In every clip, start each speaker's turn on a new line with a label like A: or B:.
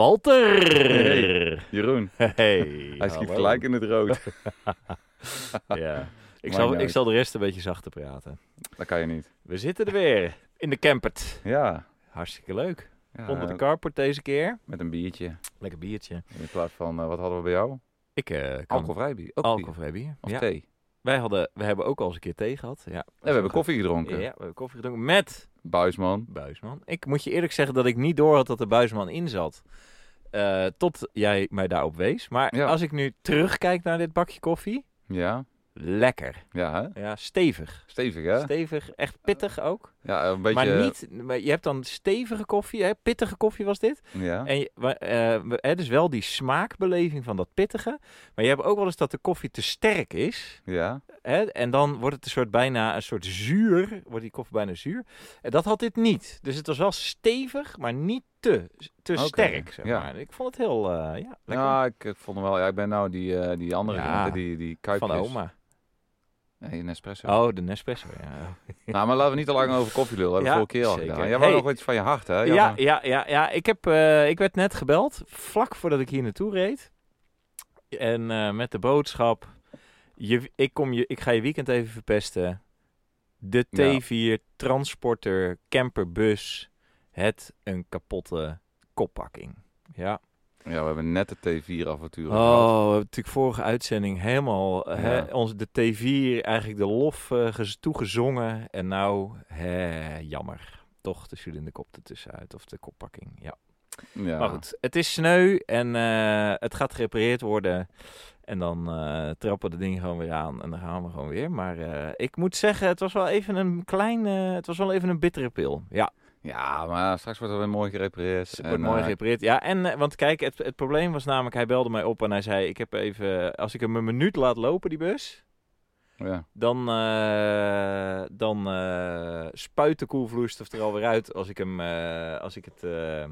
A: Walter!
B: Hey. Jeroen,
A: Hey,
B: hij schiet
A: hallo.
B: gelijk in het rood.
A: Ja. Ik,
B: Maakt
A: zal,
B: niet
A: ik
B: uit.
A: zal de rest een beetje zachter praten.
B: Dat kan je niet.
A: We zitten er weer in de campert.
B: Ja.
A: Hartstikke leuk.
B: Ja, eh,
A: Onder de carport deze keer.
B: Met een biertje.
A: Lekker biertje.
B: In plaats van, eh, wat hadden we bij jou?
A: Ik eh kan
B: Alcoholvrij bier. Ook bier.
A: alcoholvrij bier.
B: Of
A: Ja.
B: thee. En
A: Wij, hadden, we hebben ook al eens een keer thee gehad. Ja,
B: we hebben koffie gedronken.
A: Ja, we hebben koffie gedronken met
B: Buisman.
A: Buisman. Ik moet je eerlijk zeggen dat ik niet door had dat er Buisman in zat. Eh, tot jij mij daarop wees. Maar
B: Ja.
A: als ik nu terugkijk naar dit bakje koffie,
B: Ja.
A: lekker.
B: Ja, hè?
A: Ja, stevig.
B: Stevig, hè?
A: Stevig, echt pittig ook.
B: Ja, een beetje...
A: Maar niet, maar je hebt dan stevige koffie, hè? pittige koffie was dit.
B: Ja.
A: En je, wa- eh, we- hè, dus wel die smaakbeleving van dat pittige. Maar je hebt ook wel eens dat de koffie te sterk is.
B: Ja.
A: Hè? En dan wordt het een soort bijna een soort zuur. Wordt die koffie bijna zuur. En dat had dit niet. Dus het was wel stevig, maar niet te, te
B: Oké,
A: sterk. Zeg
B: ja.
A: maar. Ik vond het heel eh, ja, lekker.
B: Ja, Nou, ik, ik vond hem wel... Ja, ik ben nou die, eh, die andere
A: Ja.
B: kant, hè, die, die kuipjes.
A: van oma.
B: Nee, een espresso.
A: Oh, de Nespresso. Ja,
B: Nou, maar laten we niet te lang over koffie lullen. Hebben
A: Ja,
B: we vorige keer al
A: zeker.
B: gedaan. Jij
A: Hey.
B: wou nog iets van je hart, hè?
A: ja,
B: Jij
A: ja,
B: wou-
A: ja, ja, Ik, heb, eh, ik werd net gebeld, vlak voordat ik hier naartoe reed. En eh, met de boodschap, je, ik, kom je, ik ga je weekend even verpesten. De
B: Ja.
A: T4 transporter camperbus, het een kapotte koppakking. Ja.
B: Ja, we hebben net de T4-avontuur
A: Oh, we hebben natuurlijk vorige uitzending helemaal eh, hè,
B: Ja.
A: ons, de T4 eigenlijk de lof eh, gez- toegezongen. En nou, hè, jammer. Toch de cilinderkop ertussenuit of de koppakking. Ja.
B: Ja.
A: Maar goed, het is sneu en eh, het gaat gerepareerd worden. En dan eh, trappen we de dingen gewoon weer aan en dan gaan we gewoon weer. Maar eh, ik moet zeggen, het was wel even een kleine, het was wel even een bittere pil. Ja,
B: Ja, maar straks wordt er weer mooi gerepareerd.
A: het
B: En,
A: wordt mooi
B: eh,
A: gerepareerd. Ja, en eh, want kijk, het, het probleem was namelijk, hij belde mij op en hij zei, ik heb even, als ik hem een minuut laat lopen die bus,
B: Ja.
A: dan, eh, dan eh, spuit de koelvloeistof er alweer uit als ik hem, eh, als ik het, eh,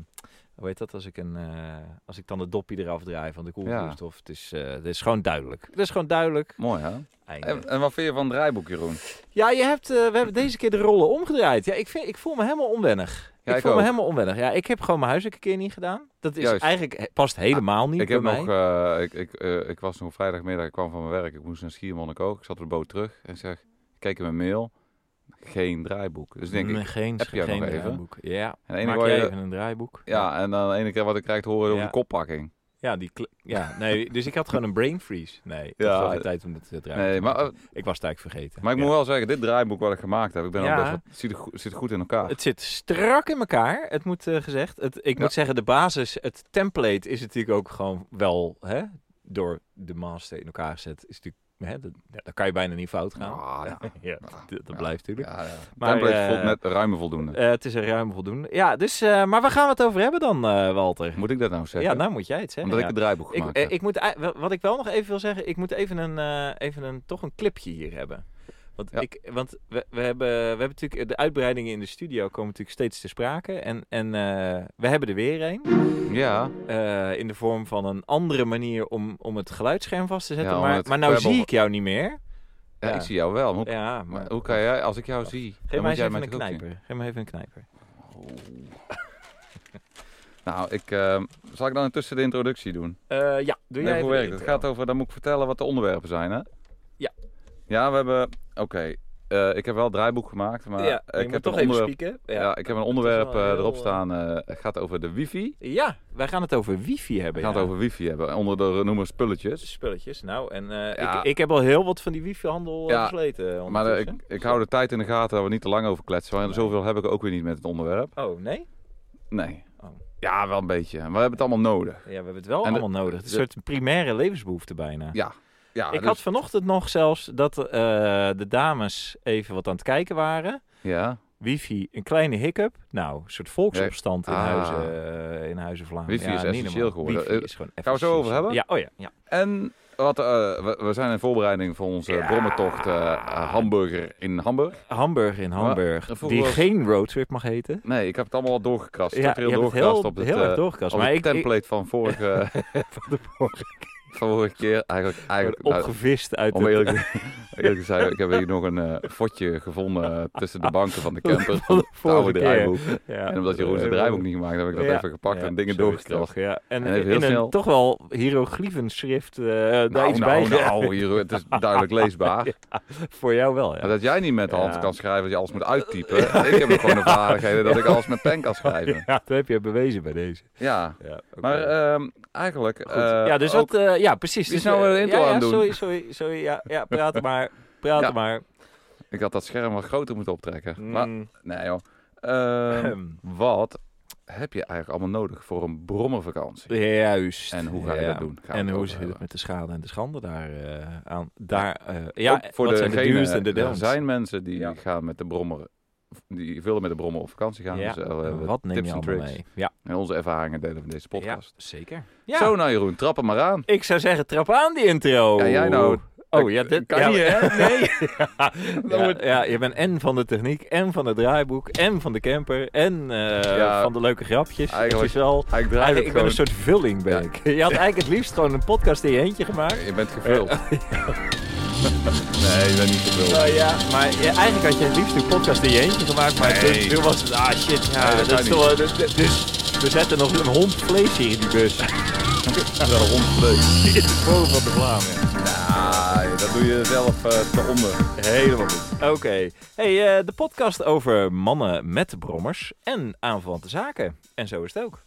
A: hoe heet dat, als ik, een, eh, als ik dan de dopje eraf draai van de koelvloeistof. Het, is, eh, het is gewoon duidelijk. Het is gewoon duidelijk.
B: Mooi, hè?
A: Einde.
B: En, en wat vind je van het draaiboek, Jeroen?
A: Ja, je hebt, eh, we hebben deze keer de rollen omgedraaid. Ja, ik, vind, ik voel me helemaal onwennig.
B: Ja,
A: ik,
B: ik
A: voel me
B: ook.
A: helemaal onwennig. Ja, ik heb gewoon mijn huiselijke keer niet gedaan. Dat is
B: Juist. Ah,
A: eigenlijk he- past helemaal niet
B: Ik
A: bij
B: heb
A: mij.
B: nog, eh, ik, ik, eh, ik was nog vrijdagmiddag, ik kwam van mijn werk, ik moest naar Schiermonnikoog. Ik zat op de boot terug en ik zeg, ik keek in mijn mail, geen draaiboek. Dus denk
A: Nee,
B: ik,
A: geen,
B: heb jij
A: geen
B: nog even?
A: draaiboek. Ja,
B: en de ene
A: maak
B: waar
A: jij
B: je-
A: even een draaiboek.
B: ja, en dan de ene keer wat ik krijg te horen is over
A: Ja.
B: de koppakking.
A: Ja, die kle- ja, nee, dus ik had gewoon een brain freeze. Nee, het was
B: Ja,
A: wel geen tijd om het te draaien.
B: Nee, maar, eh,
A: ik was het eigenlijk vergeten.
B: maar ik
A: Ja.
B: moet wel zeggen, dit draaiboek wat ik gemaakt heb, ik ben
A: Ja.
B: al best wel, zit, er goed, zit goed in elkaar.
A: Het zit strak in elkaar, het moet eh, gezegd. Het, ik
B: Ja.
A: moet zeggen, de basis, het template is natuurlijk ook gewoon wel hè, door de master in elkaar gezet. Is natuurlijk, hè, dat, ja, daar kan je bijna niet fout gaan.
B: Ah, ja.
A: Ja, dat, dat
B: Ja.
A: blijft natuurlijk.
B: Ja, ja.
A: Maar,
B: Template
A: eh,
B: vol- net ruime voldoende.
A: Eh, het is een ruim voldoende. Ja, dus, eh, maar waar gaan we het over hebben dan, eh, Walter?
B: Moet ik dat nou zeggen?
A: Ja, nou moet jij het zeggen.
B: Omdat
A: ja.
B: ik het draaiboek
A: Ik,
B: gemaakt
A: eh,
B: heb.
A: ik moet, ei- wa- wat ik wel nog even wil zeggen, ik moet even een, eh, even een toch een clipje hier hebben. Want,
B: Ja.
A: ik, want we, we, hebben, we hebben natuurlijk eh, de uitbreidingen in de studio komen natuurlijk steeds te sprake. En, en eh, we hebben er weer een.
B: ja,
A: eh, in de vorm van een andere manier om, om het geluidsscherm vast te zetten.
B: Ja, om
A: maar,
B: het
A: maar nou
B: kwebbel-
A: zie ik jou niet meer.
B: ja,
A: Ja.
B: ik zie jou wel. maar Hoe,
A: Ja, maar,
B: maar hoe kan jij, als ik jou zie,
A: Geef
B: dan
A: mij
B: moet
A: eens
B: jij
A: even
B: mij
A: een
B: toch ook zien?
A: knijper. Geef mij even een knijper.
B: Nou, ik, ehm, zal ik dan intussen de introductie doen?
A: Eh, ja, doe
B: Nee,
A: jij even
B: hoe werkt
A: de
B: het? Het
A: intro.
B: gaat over, dan moet ik vertellen wat de onderwerpen zijn, hè?
A: Ja.
B: Ja, we hebben, oké, eh, ik heb wel het draaiboek gemaakt, maar
A: ja,
B: ik,
A: ik moet
B: heb
A: toch
B: een
A: even
B: onderwerp, eh,
A: spieken.
B: ja,
A: Ja.
B: ik heb een
A: is
B: onderwerp
A: wel
B: eh,
A: heel,
B: erop
A: eh,
B: staan, eh, het gaat over de wifi.
A: ja, wij gaan het over wifi
B: We
A: hebben.
B: gaan
A: ja.
B: het over wifi hebben, onder de noemer spulletjes.
A: spulletjes. Nou, en eh,
B: Ja.
A: ik, ik heb al heel wat van die wifi-handel eh,
B: Ja,
A: versleten. eh,
B: Maar eh,
A: ondertussen.
B: ik, ik hou de tijd in de gaten dat we niet te lang over kletsen, want
A: Nee.
B: zoveel heb ik ook weer niet met het onderwerp.
A: Oh, nee?
B: Nee.
A: Oh.
B: Ja, wel een beetje. Maar we hebben het allemaal nodig.
A: Ja, we hebben het wel
B: En de-
A: allemaal nodig. Het is
B: de-
A: een soort primaire levensbehoefte bijna.
B: Ja. Ja,
A: ik
B: dus-
A: had vanochtend nog zelfs dat eh, de dames even wat aan het kijken waren.
B: ja.
A: Wifi, een kleine hiccup. Nou, een soort volksopstand in,
B: Ah.
A: huizen, eh, in huizen Vlaanderen.
B: Wifi
A: ja,
B: is
A: niet
B: essentieel
A: normaal.
B: geworden.
A: Wifi
B: Eh,
A: is gewoon
B: gaan we zo
A: essentieel.
B: over hebben?
A: Ja, oh ja. ja.
B: En wat, eh, we, we zijn in voorbereiding voor onze
A: Ja.
B: brommentocht eh, hamburger in Hamburg.
A: Hamburg in Hamburg,
B: vroeger
A: die
B: was-
A: geen roadtrip mag heten.
B: Nee, ik heb het allemaal al doorgekrast.
A: Ja, je
B: Structureel
A: hebt het
B: doorgekrast
A: heel,
B: op het,
A: heel
B: eh,
A: erg doorgekrast.
B: op
A: Maar
B: het
A: ik, ik-
B: template van vorige...
A: van de vorige keer.
B: vorige keer eigenlijk... eigenlijk
A: Wordt
B: nou,
A: opgevist uit
B: om
A: het-
B: eerlijk, eerlijk te zijn, ik heb hier nog een eh, fotje gevonden eh, tussen de banken van de camper van het
A: vorige
B: oude
A: keer.
B: draaiboek.
A: Ja.
B: En omdat Jeroen zijn draaiboek niet gemaakt had, heb ik dat
A: Eh, Ja.
B: even gepakt
A: Ja,
B: en dingen
A: zo is het
B: doorgekracht.
A: toch, Ja. En, eh,
B: En even
A: in
B: heel
A: een
B: snel-
A: toch wel hieroglyphenschrift eh daar
B: Nou,
A: iets
B: nou,
A: bij
B: nou, hier, het is duidelijk leesbaar.
A: Voor jou wel,
B: Maar
A: ja.
B: dat jij niet met de hand
A: Ja. Eh,
B: kan schrijven, dat je alles moet uittypen. Ik heb gewoon de vaardigheden dat ik alles met pen kan schrijven.
A: Ja, dat heb je bewezen bij deze.
B: Ja,
A: Ja, oké.
B: maar ehm, eigenlijk...
A: Goed.
B: eh,
A: ja, dus
B: ook-
A: wat... eh, ja, precies.
B: Wie is
A: Dus,
B: nou
A: eh,
B: een intro
A: ja,
B: aan
A: ja,
B: het doen?
A: Sorry, sorry, sorry. Ja, ja praat maar. Praat
B: Ja.
A: maar.
B: Ik had dat scherm wat groter moeten optrekken. Maar,
A: Mm.
B: nee joh. Ehm, wat heb je eigenlijk allemaal nodig voor een brommervakantie?
A: Juist.
B: En hoe ga je
A: Ja.
B: dat doen? Gaan we
A: En
B: het
A: hoe
B: over
A: zit
B: hebben.
A: het met de schade en de schande daar eh, aan? Daar, eh, ja,
B: Ook voor
A: wat zijn de
B: degene-
A: duurste en de
B: Er
A: dons?
B: zijn mensen die
A: Ja.
B: gaan met de brommer, die willen met de brommer op vakantie gaan.
A: Ja,
B: Dus, eh, we hebben
A: wat neem
B: tips
A: je
B: en
A: allemaal
B: tricks.
A: mee? Ja,
B: En onze ervaringen delen van deze podcast.
A: ja, zeker. Ja.
B: Zo nou Jeroen, trap hem maar aan.
A: Ik zou zeggen, trap aan die intro.
B: Ja, jij nou.
A: Oh, ja, dit
B: Kan
A: ja,
B: niet, hè?
A: Nee.
B: Dan
A: ja,
B: wordt-
A: ja, je bent en van de techniek, en van het draaiboek, en van de camper, en eh,
B: Ja,
A: van de leuke grapjes. Het
B: eigenlijk-
A: is wel...
B: Eigenlijk draai
A: Eigenlijk,
B: ik
A: ik ben
B: gewoon...
A: een soort vulling, ben ik. Je had eigenlijk het liefst gewoon een podcast in je eentje gemaakt.
B: Je bent gevuld. nee, je bent niet gevuld.
A: Nou ja, maar ja, eigenlijk had je het liefst een podcast in je eentje gemaakt, maar
B: Nee.
A: toen, toen was het, ah shit, ja,
B: Nee, dat
A: dat,
B: kan
A: is
B: niet.
A: toch wel- dat- dat- dus we zetten nog een hond vlees hier in die bus.
B: Wel rondvlees.
A: in het spoor van de Vlamen.
B: Nou, dat doe je zelf eh, te onder.
A: Helemaal goed. Oké, hey, eh, de podcast over mannen met brommers en aanverwante zaken. En zo is het ook.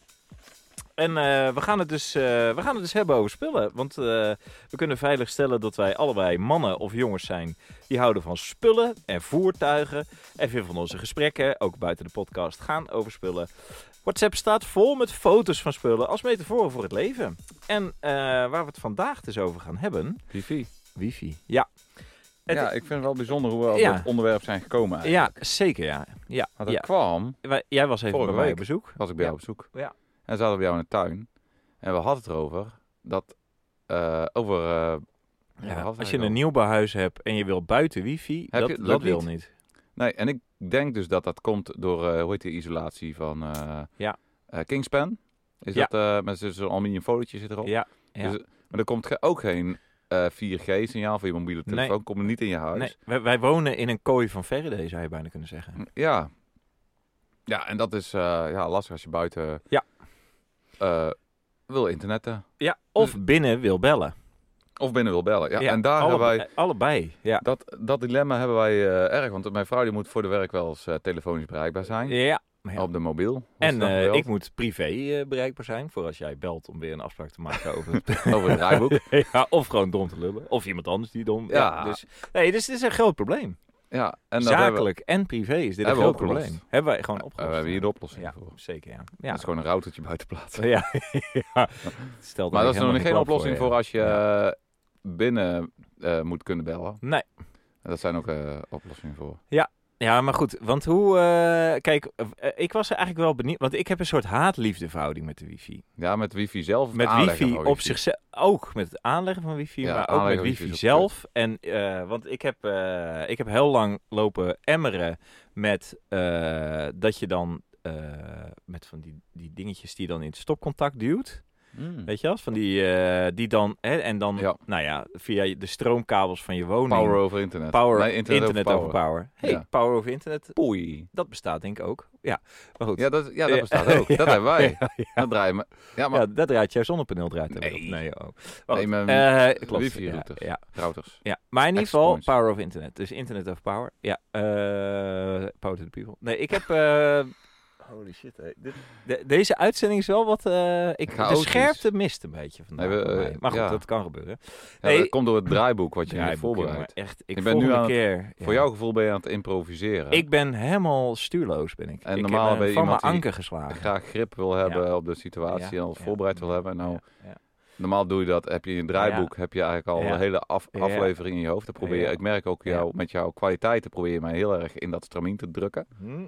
A: En eh, we, gaan het dus, eh, we gaan het dus hebben over spullen. Want eh, we kunnen veilig stellen dat wij allebei mannen of jongens zijn. Die houden van spullen en voertuigen. En veel van onze gesprekken, ook buiten de podcast, gaan over spullen. WhatsApp staat vol met foto's van spullen als metafoor voor het leven. En eh, waar we het vandaag dus over gaan hebben.
B: Vivi.
A: Wifi. Ja. Het-
B: ja, ik vind het wel bijzonder hoe we op
A: Ja.
B: het onderwerp zijn gekomen. eigenlijk.
A: ja, zeker ja. ja,
B: Want dat
A: ja.
B: kwam,
A: Wij- Jij was even
B: Vorige
A: bij mij
B: week.
A: op bezoek.
B: was ik bij
A: Ja.
B: jou op zoek.
A: Ja.
B: En zaten we bij jou in de tuin. En we hadden het erover dat eh, over... eh, waar
A: Ja,
B: hadden we
A: als
B: het
A: je een
B: over?
A: nieuwbouwhuis hebt en je wil buiten wifi,
B: Heb
A: dat,
B: je-
A: dat,
B: dat
A: wil
B: niet.
A: niet.
B: Nee, en ik denk dus dat dat komt door, eh, hoe heet die isolatie van eh,
A: Ja.
B: eh, Kingspan? Is
A: Ja.
B: dat eh, met zo'n aluminium folietje zit erop?
A: Ja, ja.
B: Dus, maar er komt ge- ook geen eh, 4G-signaal voor je mobiele
A: Nee.
B: telefoon. Komt niet in je huis.
A: nee, wij, wij wonen in een kooi van Faraday, zou je bijna kunnen zeggen.
B: Ja. Ja, en dat is eh, ja, lastig als je buiten
A: Ja.
B: eh, wil internetten.
A: Ja, of binnen wil bellen.
B: Of binnen wil bellen. Ja,
A: Ja, Oh, eh.
B: en daar hebben
A: allebei,
B: wij...
A: Allebei, ja.
B: Dat, dat dilemma hebben wij eh, erg, want mijn vrouw die moet voor de werk wel eens eh, telefonisch bereikbaar zijn.
A: Ja. Ja.
B: Op de mobiel. wordt
A: En
B: ze dan
A: eh,
B: gebeld.
A: ik moet privé eh, bereikbaar zijn voor als jij belt om weer een afspraak te maken over het
B: Over het draaiboek.
A: ja, of gewoon dom te lullen. Of iemand anders die dom. Ja.
B: Ja.
A: dus, nee, dus dit is een groot probleem.
B: Ja, en dat hebben we-
A: Zakelijk en privé is dit een
B: hebben we
A: groot
B: opgelost.
A: probleem. Hebben wij gewoon
B: we
A: opgelost.
B: hebben hier de oplossing
A: ja,
B: voor.
A: zeker ja.
B: Dat
A: Ja,
B: is gewoon een routertje buiten plaatsen.
A: ja. ja. Stelt
B: Maar dat is nog
A: helemaal
B: geen
A: klap
B: oplossing voor,
A: ja.
B: als je eh, binnen eh, moet kunnen bellen.
A: Nee.
B: En dat zijn ook eh, oplossingen voor.
A: Ja, maar goed, want hoe... eh, kijk, eh, ik was er eigenlijk wel benieuwd... Want ik heb een soort haat-liefdeverhouding met de wifi.
B: Ja, met wifi zelf. of
A: Met
B: aanleggen
A: wifi
B: van
A: op zichzelf. Ook met het aanleggen van wifi,
B: Ja,
A: maar ook
B: aanleggen
A: met
B: van wifi
A: wifi,
B: is ook
A: zelf. En, eh, want ik heb, eh, ik heb heel lang lopen emmeren met eh, dat je dan eh, met van die, die dingetjes die je dan in het stopcontact duwt.
B: Mm.
A: Weet je wel? Van die, eh, die dan, hè, en dan,
B: Ja.
A: nou ja, via de stroomkabels van je woning.
B: Power over internet.
A: Power-
B: Nee,
A: internet, over power. Hey,
B: Ja.
A: power over internet,
B: Poei.
A: dat bestaat denk ik ook. Ja, maar goed.
B: Ja, dat, ja, dat
A: Ja.
B: bestaat ook. Dat
A: Ja.
B: hebben wij.
A: Ja, ja.
B: Dat draaien we. Ja, maar
A: Ja, dat draait jouw zonnepaneel draait er weer op.
B: Nee.
A: Nee, oh.
B: Nee,
A: Wacht,
B: mijn
A: eh, klopt.
B: wifi-routers.
A: Ja, ja,
B: routers.
A: ja. Maar in ieder
B: Access
A: geval
B: points.
A: power of internet. Dus internet of power. Ja, eh, power to the people. Nee, ik heb... eh, Holy shit, hé. Dit- de- deze uitzending is wel wat... eh, ik, de
B: Chaotisch.
A: scherpte mist een beetje vandaag.
B: Nee, we,
A: bij mij.
B: eh,
A: maar goed,
B: ja.
A: dat kan gebeuren.
B: Ja,
A: Nee.
B: dat komt door het draaiboek wat je hier
A: Draaiboek,
B: voorbereidt.
A: jongen, Echt, ik
B: Je bent
A: volgende
B: nu aan het-
A: keer... ja.
B: Voor jouw gevoel ben je aan het improviseren.
A: Ik ben helemaal stuurloos, ben ik.
B: En
A: ik
B: normaal
A: heb
B: ben
A: een
B: je
A: van mijn
B: iemand die
A: anker geslagen.
B: graag grip wil hebben op de situatie
A: Ja,
B: en alles
A: ja.
B: voorbereid wil hebben. Nou,
A: Ja, ja.
B: normaal doe je dat. Heb je in je draaiboek heb je eigenlijk al
A: Ja.
B: een hele af-
A: Ja.
B: aflevering in je hoofd. Dan probeer je,
A: Ja.
B: ik merk ook
A: Ja.
B: jou, met jouw kwaliteiten probeer je mij heel erg in dat stramien te drukken.
A: Hm.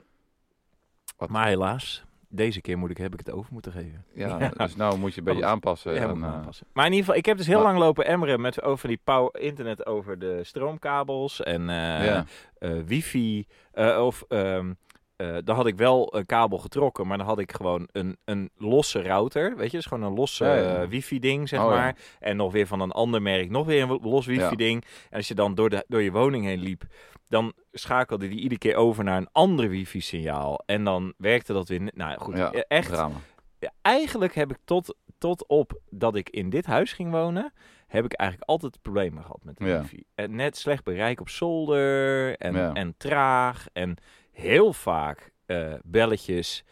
B: Wat-
A: Maar helaas, deze keer moet ik, heb ik het over moeten geven.
B: Ja,
A: Ja.
B: Dus nou moet je een beetje
A: Alles.
B: aanpassen.
A: Ja,
B: en,
A: moet ik me
B: eh,
A: aanpassen. Maar in ieder geval, ik heb dus heel
B: maar-
A: lang lopen emmeren met over die power internet over de stroomkabels en eh,
B: ja.
A: eh, wifi eh, of ehm, eh, dan had ik wel een kabel getrokken, maar dan had ik gewoon een, een losse router. Weet je, dus gewoon een losse
B: Ja, ja.
A: eh, wifi-ding, zeg
B: Oh, ja.
A: maar. En nog weer van een ander merk, nog weer een los wifi-ding. En als je dan door, de, door je woning heen liep, dan schakelde die iedere keer over naar een ander wifi-signaal. En dan werkte dat weer. ni- Nou goed,
B: Ja,
A: eh, echt.
B: Drama.
A: Ja, eigenlijk heb ik tot, tot op dat ik in dit huis ging wonen, heb ik eigenlijk altijd problemen gehad met de
B: Ja.
A: wifi. En net slecht bereik op zolder en,
B: Ja.
A: en traag en heel vaak eh, belletjes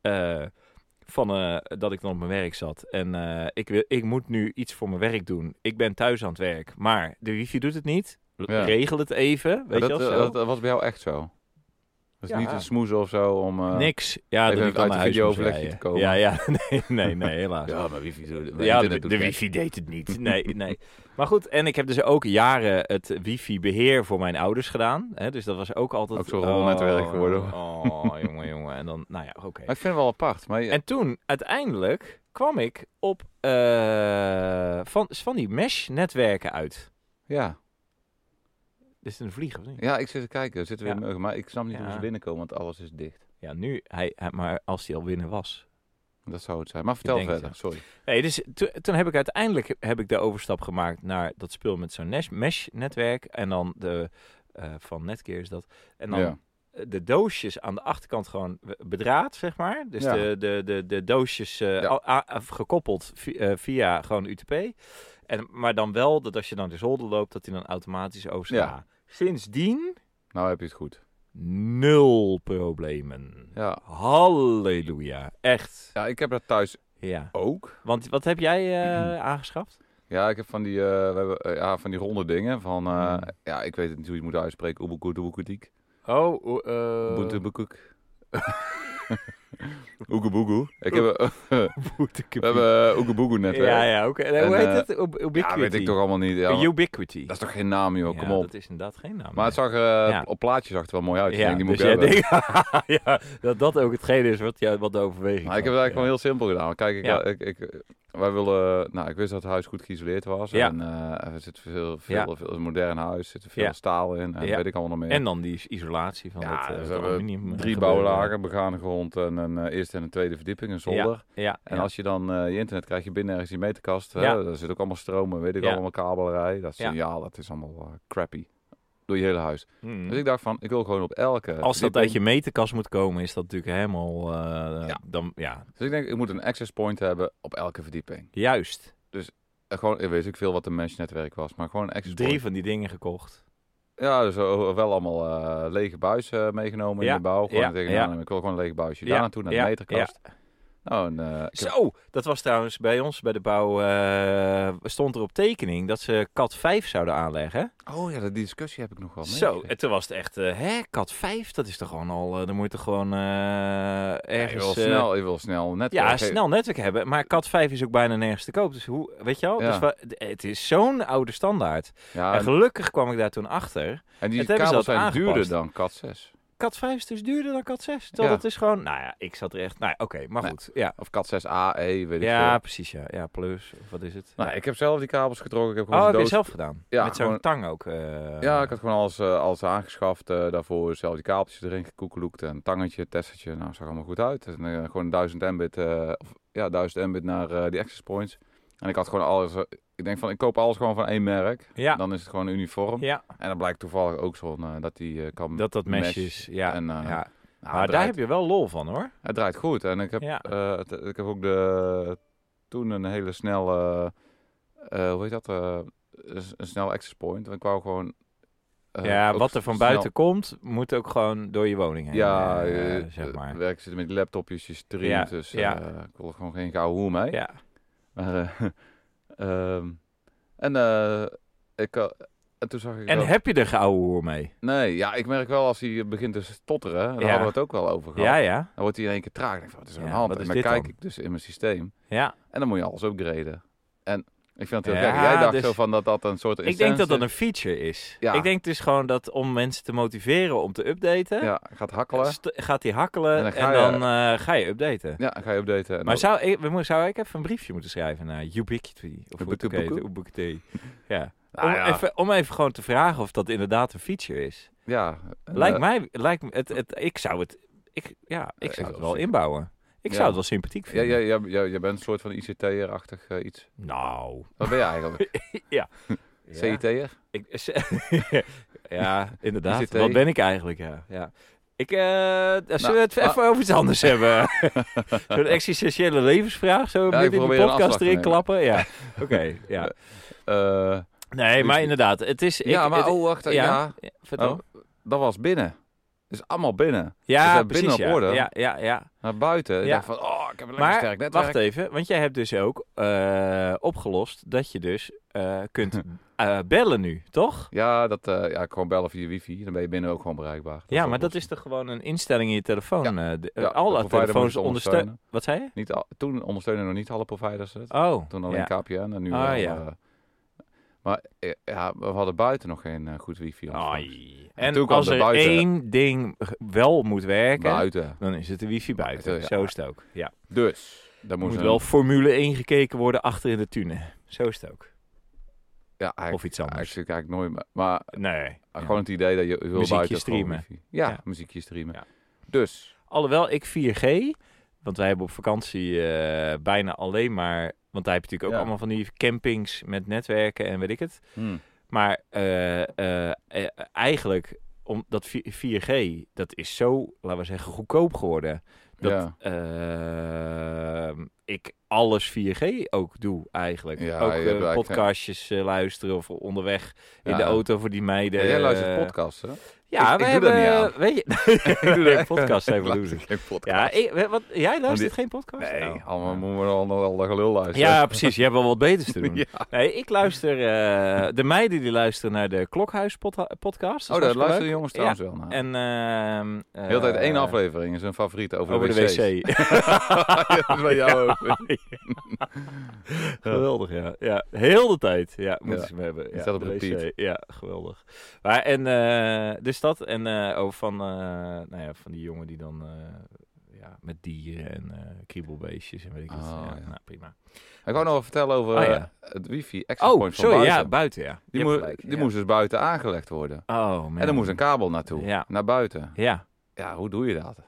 A: eh, van eh, dat ik dan op mijn werk zat. En eh, ik, wil, ik moet nu iets voor mijn werk doen. Ik ben thuis aan het werk, maar de wifi doet het niet. L-
B: Ja.
A: Regel het even, weet
B: Maar
A: je wel.
B: dat, eh,
A: zo.
B: dat, dat was bij jou echt zo. Dat
A: Ja.
B: is niet een smoes of zo om... eh,
A: Niks. Ja,
B: even
A: dat
B: uit
A: ik aan
B: het
A: mijn huis moest
B: videooverlegje
A: rijden.
B: te komen.
A: Ja, ja. Nee, nee, nee helaas.
B: Ja, maar wifi...
A: Ja, de, de wifi deed het niet. Nee, nee. Maar goed, en ik heb dus ook jaren het wifi-beheer voor mijn ouders gedaan. Hè? Dus dat was ook altijd...
B: Ook zo'n rolnetwerk geworden.
A: Oh, jongen, jongen. En dan, nou ja, oké.
B: Maar ik vind het wel apart. Maar je-
A: En toen, uiteindelijk, kwam ik op eh, van, van die mesh-netwerken uit.
B: ja.
A: Dit is een vlieg, of niet?
B: ja, ik zit te kijken. Er zitten weer
A: Ja.
B: muggen. Maar ik snap niet hoe
A: Ja.
B: ze binnenkomen, want alles is dicht.
A: Ja, nu, hij, hij- maar als hij al binnen was,
B: Dat zou het zijn. Maar vertel
A: denk het,
B: verder. Sorry.
A: Nee, dus to- toen heb ik uiteindelijk heb ik de overstap gemaakt naar dat speel met zo'n nes- mesh-netwerk. En dan de, eh, van Netgear is dat. En dan
B: Ja.
A: de doosjes aan de achterkant gewoon be- bedraad, zeg maar. Dus
B: Ja.
A: de, de, de, de doosjes eh,
B: Ja.
A: a- a- a- gekoppeld vi- eh, via gewoon UTP. En, maar dan wel dat als je dan de zolder loopt, dat hij dan automatisch overslaat. Sindsdien
B: Nou heb je het goed.
A: nul problemen.
B: Ja.
A: Halleluja. Echt.
B: Ja, ik heb dat thuis
A: Ja.
B: ook.
A: Want wat heb jij eh, aangeschaft?
B: Ja, ik heb van die, eh, we hebben, eh, ja, van die ronde dingen. Van, eh,
A: Mm.
B: ja, ik weet het niet hoe je het moet uitspreken. Oeboekoedoeboekoediek.
A: Oh, o- eh,
B: Boetenboekoek. Oegeboegoe. Ik heb, eh,
A: Boetekepiet.
B: we hebben eh, oegeboegoe netwerk.
A: Ja, ja, oké. En eh, Hoe
B: En,
A: heet het? Ub- Ubiquity.
B: Ja, weet ik toch allemaal niet. Ja, maar-
A: Ubiquity.
B: dat is toch geen naam, joh.
A: Ja,
B: Kom op.
A: dat is inderdaad geen naam.
B: Maar het
A: nee.
B: zag er, eh,
A: Ja.
B: op plaatje zag het wel mooi uit. Ik
A: ja,
B: denk, die moet
A: dus
B: ik
A: jij
B: hebben.
A: denkt- ja, dat dat ook hetgeen is wat, jou- wat de overweging
B: Maar ik heb
A: was,
B: het eigenlijk gewoon heel simpel gedaan. Kijk, ik, eh,
A: Ja.
B: ik, ik- wij willen, nou, ik wist dat het huis goed geïsoleerd was.
A: Ja.
B: En eh, er zit veel, veel,
A: Ja.
B: veel- een modern huis, zit veel
A: Ja.
B: staal in en
A: Ja.
B: weet ik allemaal nog
A: ja.
B: meer.
A: En dan die is- isolatie van
B: Ja,
A: het, eh,
B: dus
A: het
B: we hebben
A: aluminium. eh,
B: Drie
A: gebeuren.
B: bouwlagen, begane grond en een eh, eerste en een tweede verdieping, een zolder.
A: Ja, ja,
B: En
A: ja.
B: als je dan eh, je internet krijgt, je binnen ergens die meterkast. hè,
A: Ja.
B: daar zit ook allemaal stromen, weet ik
A: Ja.
B: allemaal kabelerij. Dat
A: Ja.
B: signaal, dat is allemaal eh, crappy. Door je hele huis.
A: Hmm.
B: Dus ik eh, dacht van, ik wil gewoon op elke
A: Als dat
B: verdieping-
A: uit je meterkast moet komen, is dat natuurlijk helemaal... eh,
B: Ja.
A: Dan, ja,
B: Dus ik denk, ik moet een access point hebben op elke verdieping.
A: juist.
B: Eh, Gewoon, ik weet ik veel wat een mesh-netwerk was, maar gewoon een access point.
A: Drie van die dingen gekocht.
B: Ja, dus o- wel allemaal eh, lege buis eh, meegenomen
A: Ja,
B: in de bouw. Gewoon
A: ja,
B: tegen,
A: ja.
B: nou, ik wil gewoon een leeg buisje.
A: Ja,
B: Daar naartoe, naar de
A: ja,
B: meterkast. Nou, en, eh, ik heb-
A: Zo, dat was trouwens bij ons bij de bouw, eh, stond er op tekening dat ze kat 5 zouden aanleggen.
B: Oh ja, die discussie heb ik nog wel mee.
A: Zo, en toen was het echt, eh, hè, kat 5, dat is toch gewoon al, eh, dan moet je toch gewoon eh,
B: ergens... Je
A: ergens...
B: wil
A: eh,
B: snel, je wil snel net...
A: ja,
B: eh, ge-
A: snel netwerk hebben, maar kat 5 is ook bijna nergens te koop. Dus hoe, weet je wel,
B: Ja.
A: dus wa- d- het is zo'n oude standaard.
B: Ja,
A: en
B: en,
A: gelukkig kwam ik daar toen achter.
B: en
A: het hebben
B: die
A: ze dat
B: kabels zijn duurder
A: aangepast.
B: dan CAT 6.
A: Kat 5 is dus duurder dan kat 6. Terwijl
B: Ja.
A: dat is gewoon, nou ja, ik zat er echt, nou ja, oké, maar
B: Nee.
A: goed. Ja,
B: Of CAT 6A, E, weet ik
A: ja
B: veel.
A: precies, ja. Ja, plus, of wat is het?
B: Nou, ik heb zelf die kabels getrokken. Ik heb gewoon
A: Oh,
B: een
A: heb je
B: doos...
A: zelf gedaan?
B: Ja,
A: Met zo'n
B: gewoon-
A: tang ook? eh,
B: Ja, ik had gewoon alles, eh, alles aangeschaft. eh, daarvoor zelf die kabeltjes erin gekoekeloekt. En tangetje, tessertje. Nou, zag allemaal goed uit. En, eh, gewoon 1000 Mbit, eh, of, ja, 1000 Mbit naar eh, die access points. En ik had gewoon alles... eh, ik denk van, ik koop alles gewoon van één merk.
A: Ja,
B: Dan is het gewoon uniform.
A: ja,
B: En dan blijkt toevallig ook zo'n eh, dat die eh, kan...
A: dat dat
B: mesh.
A: mesje is. Ja,
B: En, eh,
A: ja.
B: Nou,
A: maar
B: het,
A: daar
B: draait,
A: heb je wel lol van hoor.
B: het draait goed. En ik heb,
A: Ja.
B: eh, het- ik heb ook de, toen een hele snelle... eh, hoe heet dat? eh, een, een snelle access point. Want ik wou gewoon... eh,
A: ja,
B: ook
A: wat er van
B: snel-
A: buiten komt, moet ook gewoon door je woning heen.
B: Ja,
A: eh,
B: eh,
A: zeg maar.
B: eh, werk zitten met laptopjes, je streamt,
A: Ja,
B: dus
A: ja.
B: eh, ik wil er gewoon geen gouden hoe mee.
A: Ja,
B: Maar, eh, ehm, en, eh, ik, eh, en toen zag ik
A: en
B: wel-
A: heb je er geouwe hoer mee?
B: Nee, ja, ik merk wel als hij begint te stotteren, daar
A: Ja.
B: hadden we het ook wel over gehad,
A: Ja, ja,
B: dan wordt hij in één keer traag. Ik Denk, van, wat is er
A: Ja,
B: aan de hand?
A: wat is
B: en dan
A: dit
B: kijk
A: dan?
B: ik dus in mijn systeem
A: ja.
B: en dan moet je alles upgraden. En ik vind het heel
A: Ja,
B: gek. Jij dacht
A: dus-
B: zo van dat dat een soort
A: Ik denk dat dat
B: instantie-
A: een feature is.
B: Ja.
A: Ik denk dus gewoon dat om mensen te motiveren om te updaten,
B: Ja, gaat hakkelen.
A: st- gaat die hakkelen
B: En
A: en
B: dan
A: dan,
B: ga je-
A: eh, ga je updaten.
B: Ja, dan ga je updaten. En
A: Maar
B: ook-
A: zou ik, we mo- zou ik even een briefje moeten schrijven naar Ubiquity? Of hoe het ook heet,
B: Ubiquity.
A: Ubiquity. Ja.
B: Nou
A: om,
B: ja.
A: Even, om even gewoon te vragen of dat inderdaad een feature is.
B: ja, en,
A: Lijkt
B: eh,
A: mij, lijkt me, het, het, ik zou het ik, ja, ik
B: ik
A: zou
B: wel
A: het wel
B: zien.
A: inbouwen. Ik
B: Ja.
A: zou het wel sympathiek
B: Ja,
A: vinden.
B: ja, ja, ja, je bent een soort van ICT'er-achtig eh, iets.
A: Nou.
B: Wat ben je eigenlijk? CIT'er?
A: Ik, ja, inderdaad.
B: ICT.
A: Wat ben ik eigenlijk, ja. ja. Ik, eh zullen we het
B: ah.
A: even over iets anders hebben? Zo'n existentiële levensvraag, zo midden in de
B: probeer een
A: podcast
B: afslag te
A: erin
B: nemen.
A: klappen. Ja, oké, ja.
B: Eh,
A: Nee, maar inderdaad, het is... ik-
B: ja, maar
A: het-
B: oh, wacht.
A: ja.
B: ja.
A: vertel.
B: Oh, dat was binnen. Het is allemaal binnen.
A: ja,
B: dat
A: precies,
B: binnen op
A: ja.
B: orde.
A: ja, ja, ja.
B: Naar buiten. Ik
A: Ja.
B: dacht van, oh, ik heb een lekker
A: Maar,
B: sterk netwerk.
A: Wacht even, want jij hebt dus ook eh, opgelost dat je dus eh, kunt eh, bellen nu, toch?
B: Ja, dat, eh, ja, gewoon bellen via wifi. Dan ben je binnen ook gewoon bereikbaar. Dat
A: Ja, maar dat
B: wel
A: is toch gewoon een instelling in je telefoon? eh, de-
B: los. Ja,
A: al
B: de
A: dat
B: provider moet
A: telefoons ondersteunen.
B: het ondersteunen.
A: Wat zei je?
B: Niet al- toen ondersteunen nog niet alle providers het.
A: Oh,
B: Toen alleen
A: ja.
B: KPN en nu
A: Ah,
B: wel,
A: ja.
B: eh, maar eh, ja, we hadden buiten nog geen eh, goed wifi. ontvangst.
A: Ai.
B: En
A: En
B: toen kwam
A: als
B: de
A: er
B: buiten-
A: één ding g- wel moet werken,
B: Buiten.
A: dan is het de wifi buiten.
B: Buiten, ja.
A: Zo is het ook. Ja.
B: Dus, daar
A: Er
B: moest
A: moet
B: een-
A: wel Formule 1 gekeken worden achter in de tune. Zo is het ook.
B: Ja, eigenlijk,
A: Of iets anders.
B: eigenlijk, eigenlijk nooit meer. Maar
A: Nee.
B: eh,
A: Ja.
B: gewoon het idee dat je wil
A: Muziekje
B: buiten gewoon
A: streamen.
B: wifi. Ja,
A: Ja.
B: muziekje streamen.
A: Ja.
B: Dus,
A: Alhoewel ik 4G, want wij hebben op vakantie eh, bijna alleen maar... Want daar heb je natuurlijk ook
B: Ja.
A: allemaal van die campings met netwerken en weet ik het.
B: hmm,
A: Maar eh, eh, eh, eigenlijk, om, dat 4G, dat is zo, laten we zeggen, goedkoop geworden. Dat
B: ja.
A: eh, ik alles 4G ook doe eigenlijk.
B: Ja,
A: ook
B: je
A: eh,
B: hebt eigenlijk-
A: podcastjes eh, luisteren of onderweg in
B: Ja.
A: de auto voor die meiden.
B: Ja, jij luistert
A: eh,
B: podcasts, hè?
A: Ja,
B: Ik-
A: we
B: ik doe dat
A: hebben... eh,
B: niet
A: weet je, ik doe er podcast
B: Ik
A: even
B: luister
A: doen.
B: geen podcast.
A: Ja, ik, we- wat, jij luistert
B: die-
A: geen podcast?
B: Nee,
A: Oh.
B: allemaal moeten we dan al dat gelul luisteren. Oh,
A: Ja, precies. Je hebt wel wat beters te doen.
B: Ja.
A: Nee, ik luister... eh, de meiden die luisteren naar de Klokhuis pod- podcast.
B: oh, daar luisteren
A: je.
B: de jongens trouwens wel naar.
A: En... ehm, eh,
B: De hele tijd één aflevering is hun favoriet over,
A: Over de
B: wc's.
A: wc.
B: Ja, dat is bij jou ook.
A: Geweldig, ja. ja. Heel de tijd. Ja, moeten
B: Ja.
A: ze hem hebben. Ja,
B: staat op
A: de wc.
B: repeat.
A: Ja, geweldig. Maar en eh, dus dat en eh ook van, eh, nou ja, van die jongen die dan eh, ja, met dieren en eh, kriebelbeestjes en weet ik wat.
B: Ah,
A: ja,
B: ja.
A: Nou, prima.
B: Ik wou nog wat vertellen over
A: Ah,
B: eh,
A: ja.
B: het wifi access
A: Oh,
B: point van
A: sorry,
B: buiten.
A: ja, buiten, ja. Je
B: die
A: hebt
B: moe-
A: gelijk,
B: die
A: ja.
B: moest dus buiten aangelegd worden.
A: Oh, man.
B: En er moest een kabel naartoe,
A: Ja.
B: naar buiten.
A: Ja,
B: Ja, hoe doe je dat?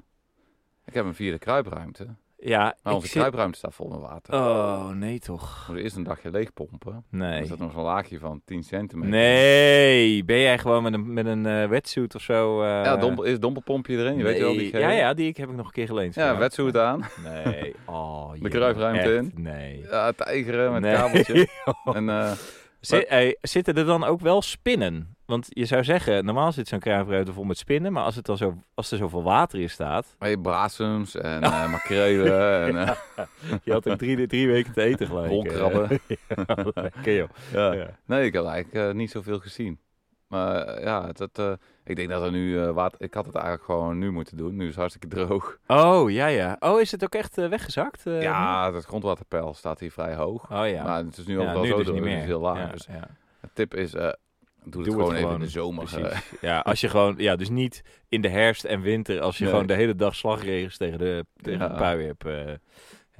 B: Ik heb een vierde kruipruimte,
A: ja.
B: maar
A: ik
B: onze
A: zit-
B: kruipruimte staat vol met water.
A: Oh, nee toch.
B: We moeten eerst een dagje leegpompen. Er
A: Nee.
B: zat nog zo'n laagje van 10 centimeter.
A: Nee, ben jij gewoon met een, met een eh wetsuit of zo? eh,
B: Ja, domp is domperpompje erin, je weet wel, die
A: nee.
B: gele.
A: Ja, ja, die ik heb ik nog een keer geleend.
B: Ja, wetsuit aan.
A: Nee. Oh,
B: De kruipruimte
A: echt, Nee.
B: Ja, tijgeren met
A: Nee.
B: kabeltje. En, eh,
A: Zi- hey, zitten er dan ook wel spinnen? Want je zou zeggen, normaal zit zo'n kruipruimte vol met spinnen, maar als, het dan zo, als er zoveel water in staat...
B: Maar je brasems en eh makrelen en eh,
A: Je had ook drie, drie weken te eten gelijk. eh.
B: rolkrabben.
A: Ja, lekker, joh.
B: Ja.
A: Ja.
B: Nee, ik heb eigenlijk eh, niet zoveel gezien. Maar eh, ja, dat, eh, ik denk dat er nu eh, water... Ik had het eigenlijk gewoon nu moeten doen. Nu is het hartstikke droog.
A: Oh, ja, ja. Oh, is het ook echt eh, weggezakt? eh,
B: ja, het grondwaterpeil staat hier vrij hoog.
A: nu? Oh, ja.
B: Maar het is nu
A: ja,
B: overal zo
A: dus
B: droog.
A: niet
B: Het
A: meer.
B: is heel laag.
A: Ja,
B: Dus
A: ja.
B: de tip is, eh, doe, het
A: het
B: gewoon even
A: gewoon.
B: in de zomer. eh.
A: Precies. Ja, als je gewoon, ja, dus niet in de herfst en winter, als je
B: Nee.
A: gewoon de hele dag slagregens tegen de, tegen
B: Ja.
A: de pui hebt. eh.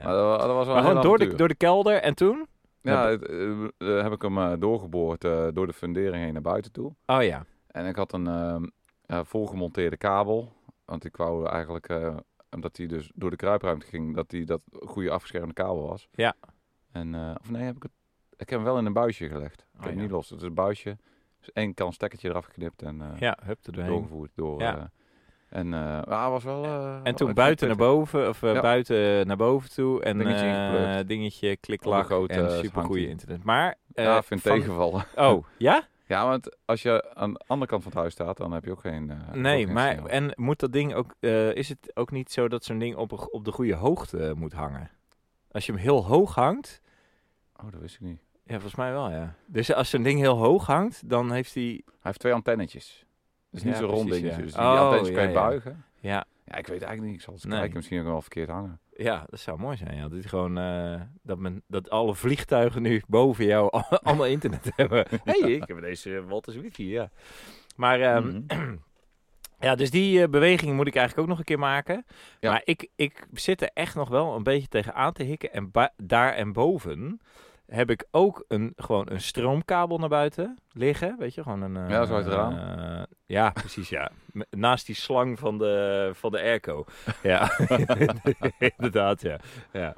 B: Maar dat, dat
A: Maar
B: was wel een
A: gewoon door
B: heel
A: de,
B: avontuur.
A: door de kelder en toen?
B: Ja, het, eh, eh, heb ik hem eh, doorgeboord eh, door de fundering heen naar buiten toe.
A: Oh ja.
B: En ik had een ehm, eh, volgemonteerde kabel. Want ik wou eigenlijk, eh, omdat die dus door de kruipruimte ging, dat die dat goede afgeschermde kabel was.
A: Ja.
B: En, eh, of nee, heb ik het. Ik heb hem wel in een buisje gelegd. Ik
A: Oh,
B: heb hem
A: ja.
B: niet los. Het is een buisje. Dus één kant stekkertje eraf geknipt en eh,
A: Ja, hup er doorheen.
B: doorgevoerd door.
A: Ja.
B: eh, en eh ah, was wel. eh,
A: En
B: wel
A: toen buiten naar
B: pittig.
A: boven, of eh,
B: Ja.
A: buiten naar boven toe. En
B: Dingetje
A: eh,
B: ingeplukt.
A: dingetje kliklak
B: Op de goot, eh,
A: en
B: hangt
A: supergoeie
B: ie.
A: internet. Maar, eh,
B: ja, vind
A: van-
B: tegenvallen.
A: Oh, ja?
B: ja, want als je aan de andere kant van het huis staat, dan heb je ook geen. eh, ook
A: Nee,
B: geen
A: maar
B: signaal.
A: en moet dat ding ook, eh, is het ook niet zo dat zo'n ding op, een- op de goede hoogte eh, moet hangen? Als je hem heel hoog hangt,
B: Oh, dat wist ik niet.
A: ja, volgens mij wel, ja. Dus als zo'n ding heel hoog hangt, dan heeft hij,
B: Hij heeft twee antennetjes. Dus niet
A: Ja,
B: zo'n rond
A: precies,
B: dingetje.
A: ja.
B: Dus die
A: Oh,
B: antennetjes kan
A: ja,
B: je
A: ja.
B: buigen.
A: ja,
B: Ja, ik weet eigenlijk niet. Ik zal eens
A: Nee.
B: kijken. Misschien ook wel verkeerd hangen.
A: Ja, dat zou mooi zijn. Ja. Dat, het gewoon, eh, dat, men, dat alle vliegtuigen nu boven jou al- allemaal internet hebben. hey, ik heb deze Walters Wiki, ja. Maar ehm, ja, dus die eh, beweging moet ik eigenlijk ook nog een keer maken.
B: Ja.
A: Maar ik, ik zit er echt nog wel een beetje tegen aan te hikken. En ba- daar en boven heb ik ook een, gewoon een stroomkabel naar buiten liggen. Weet je, gewoon een... eh,
B: Ja, zo uit het raam.
A: eh, ja, precies, ja. M- Naast die slang van de, van de airco. Ja, inderdaad, ja. ja.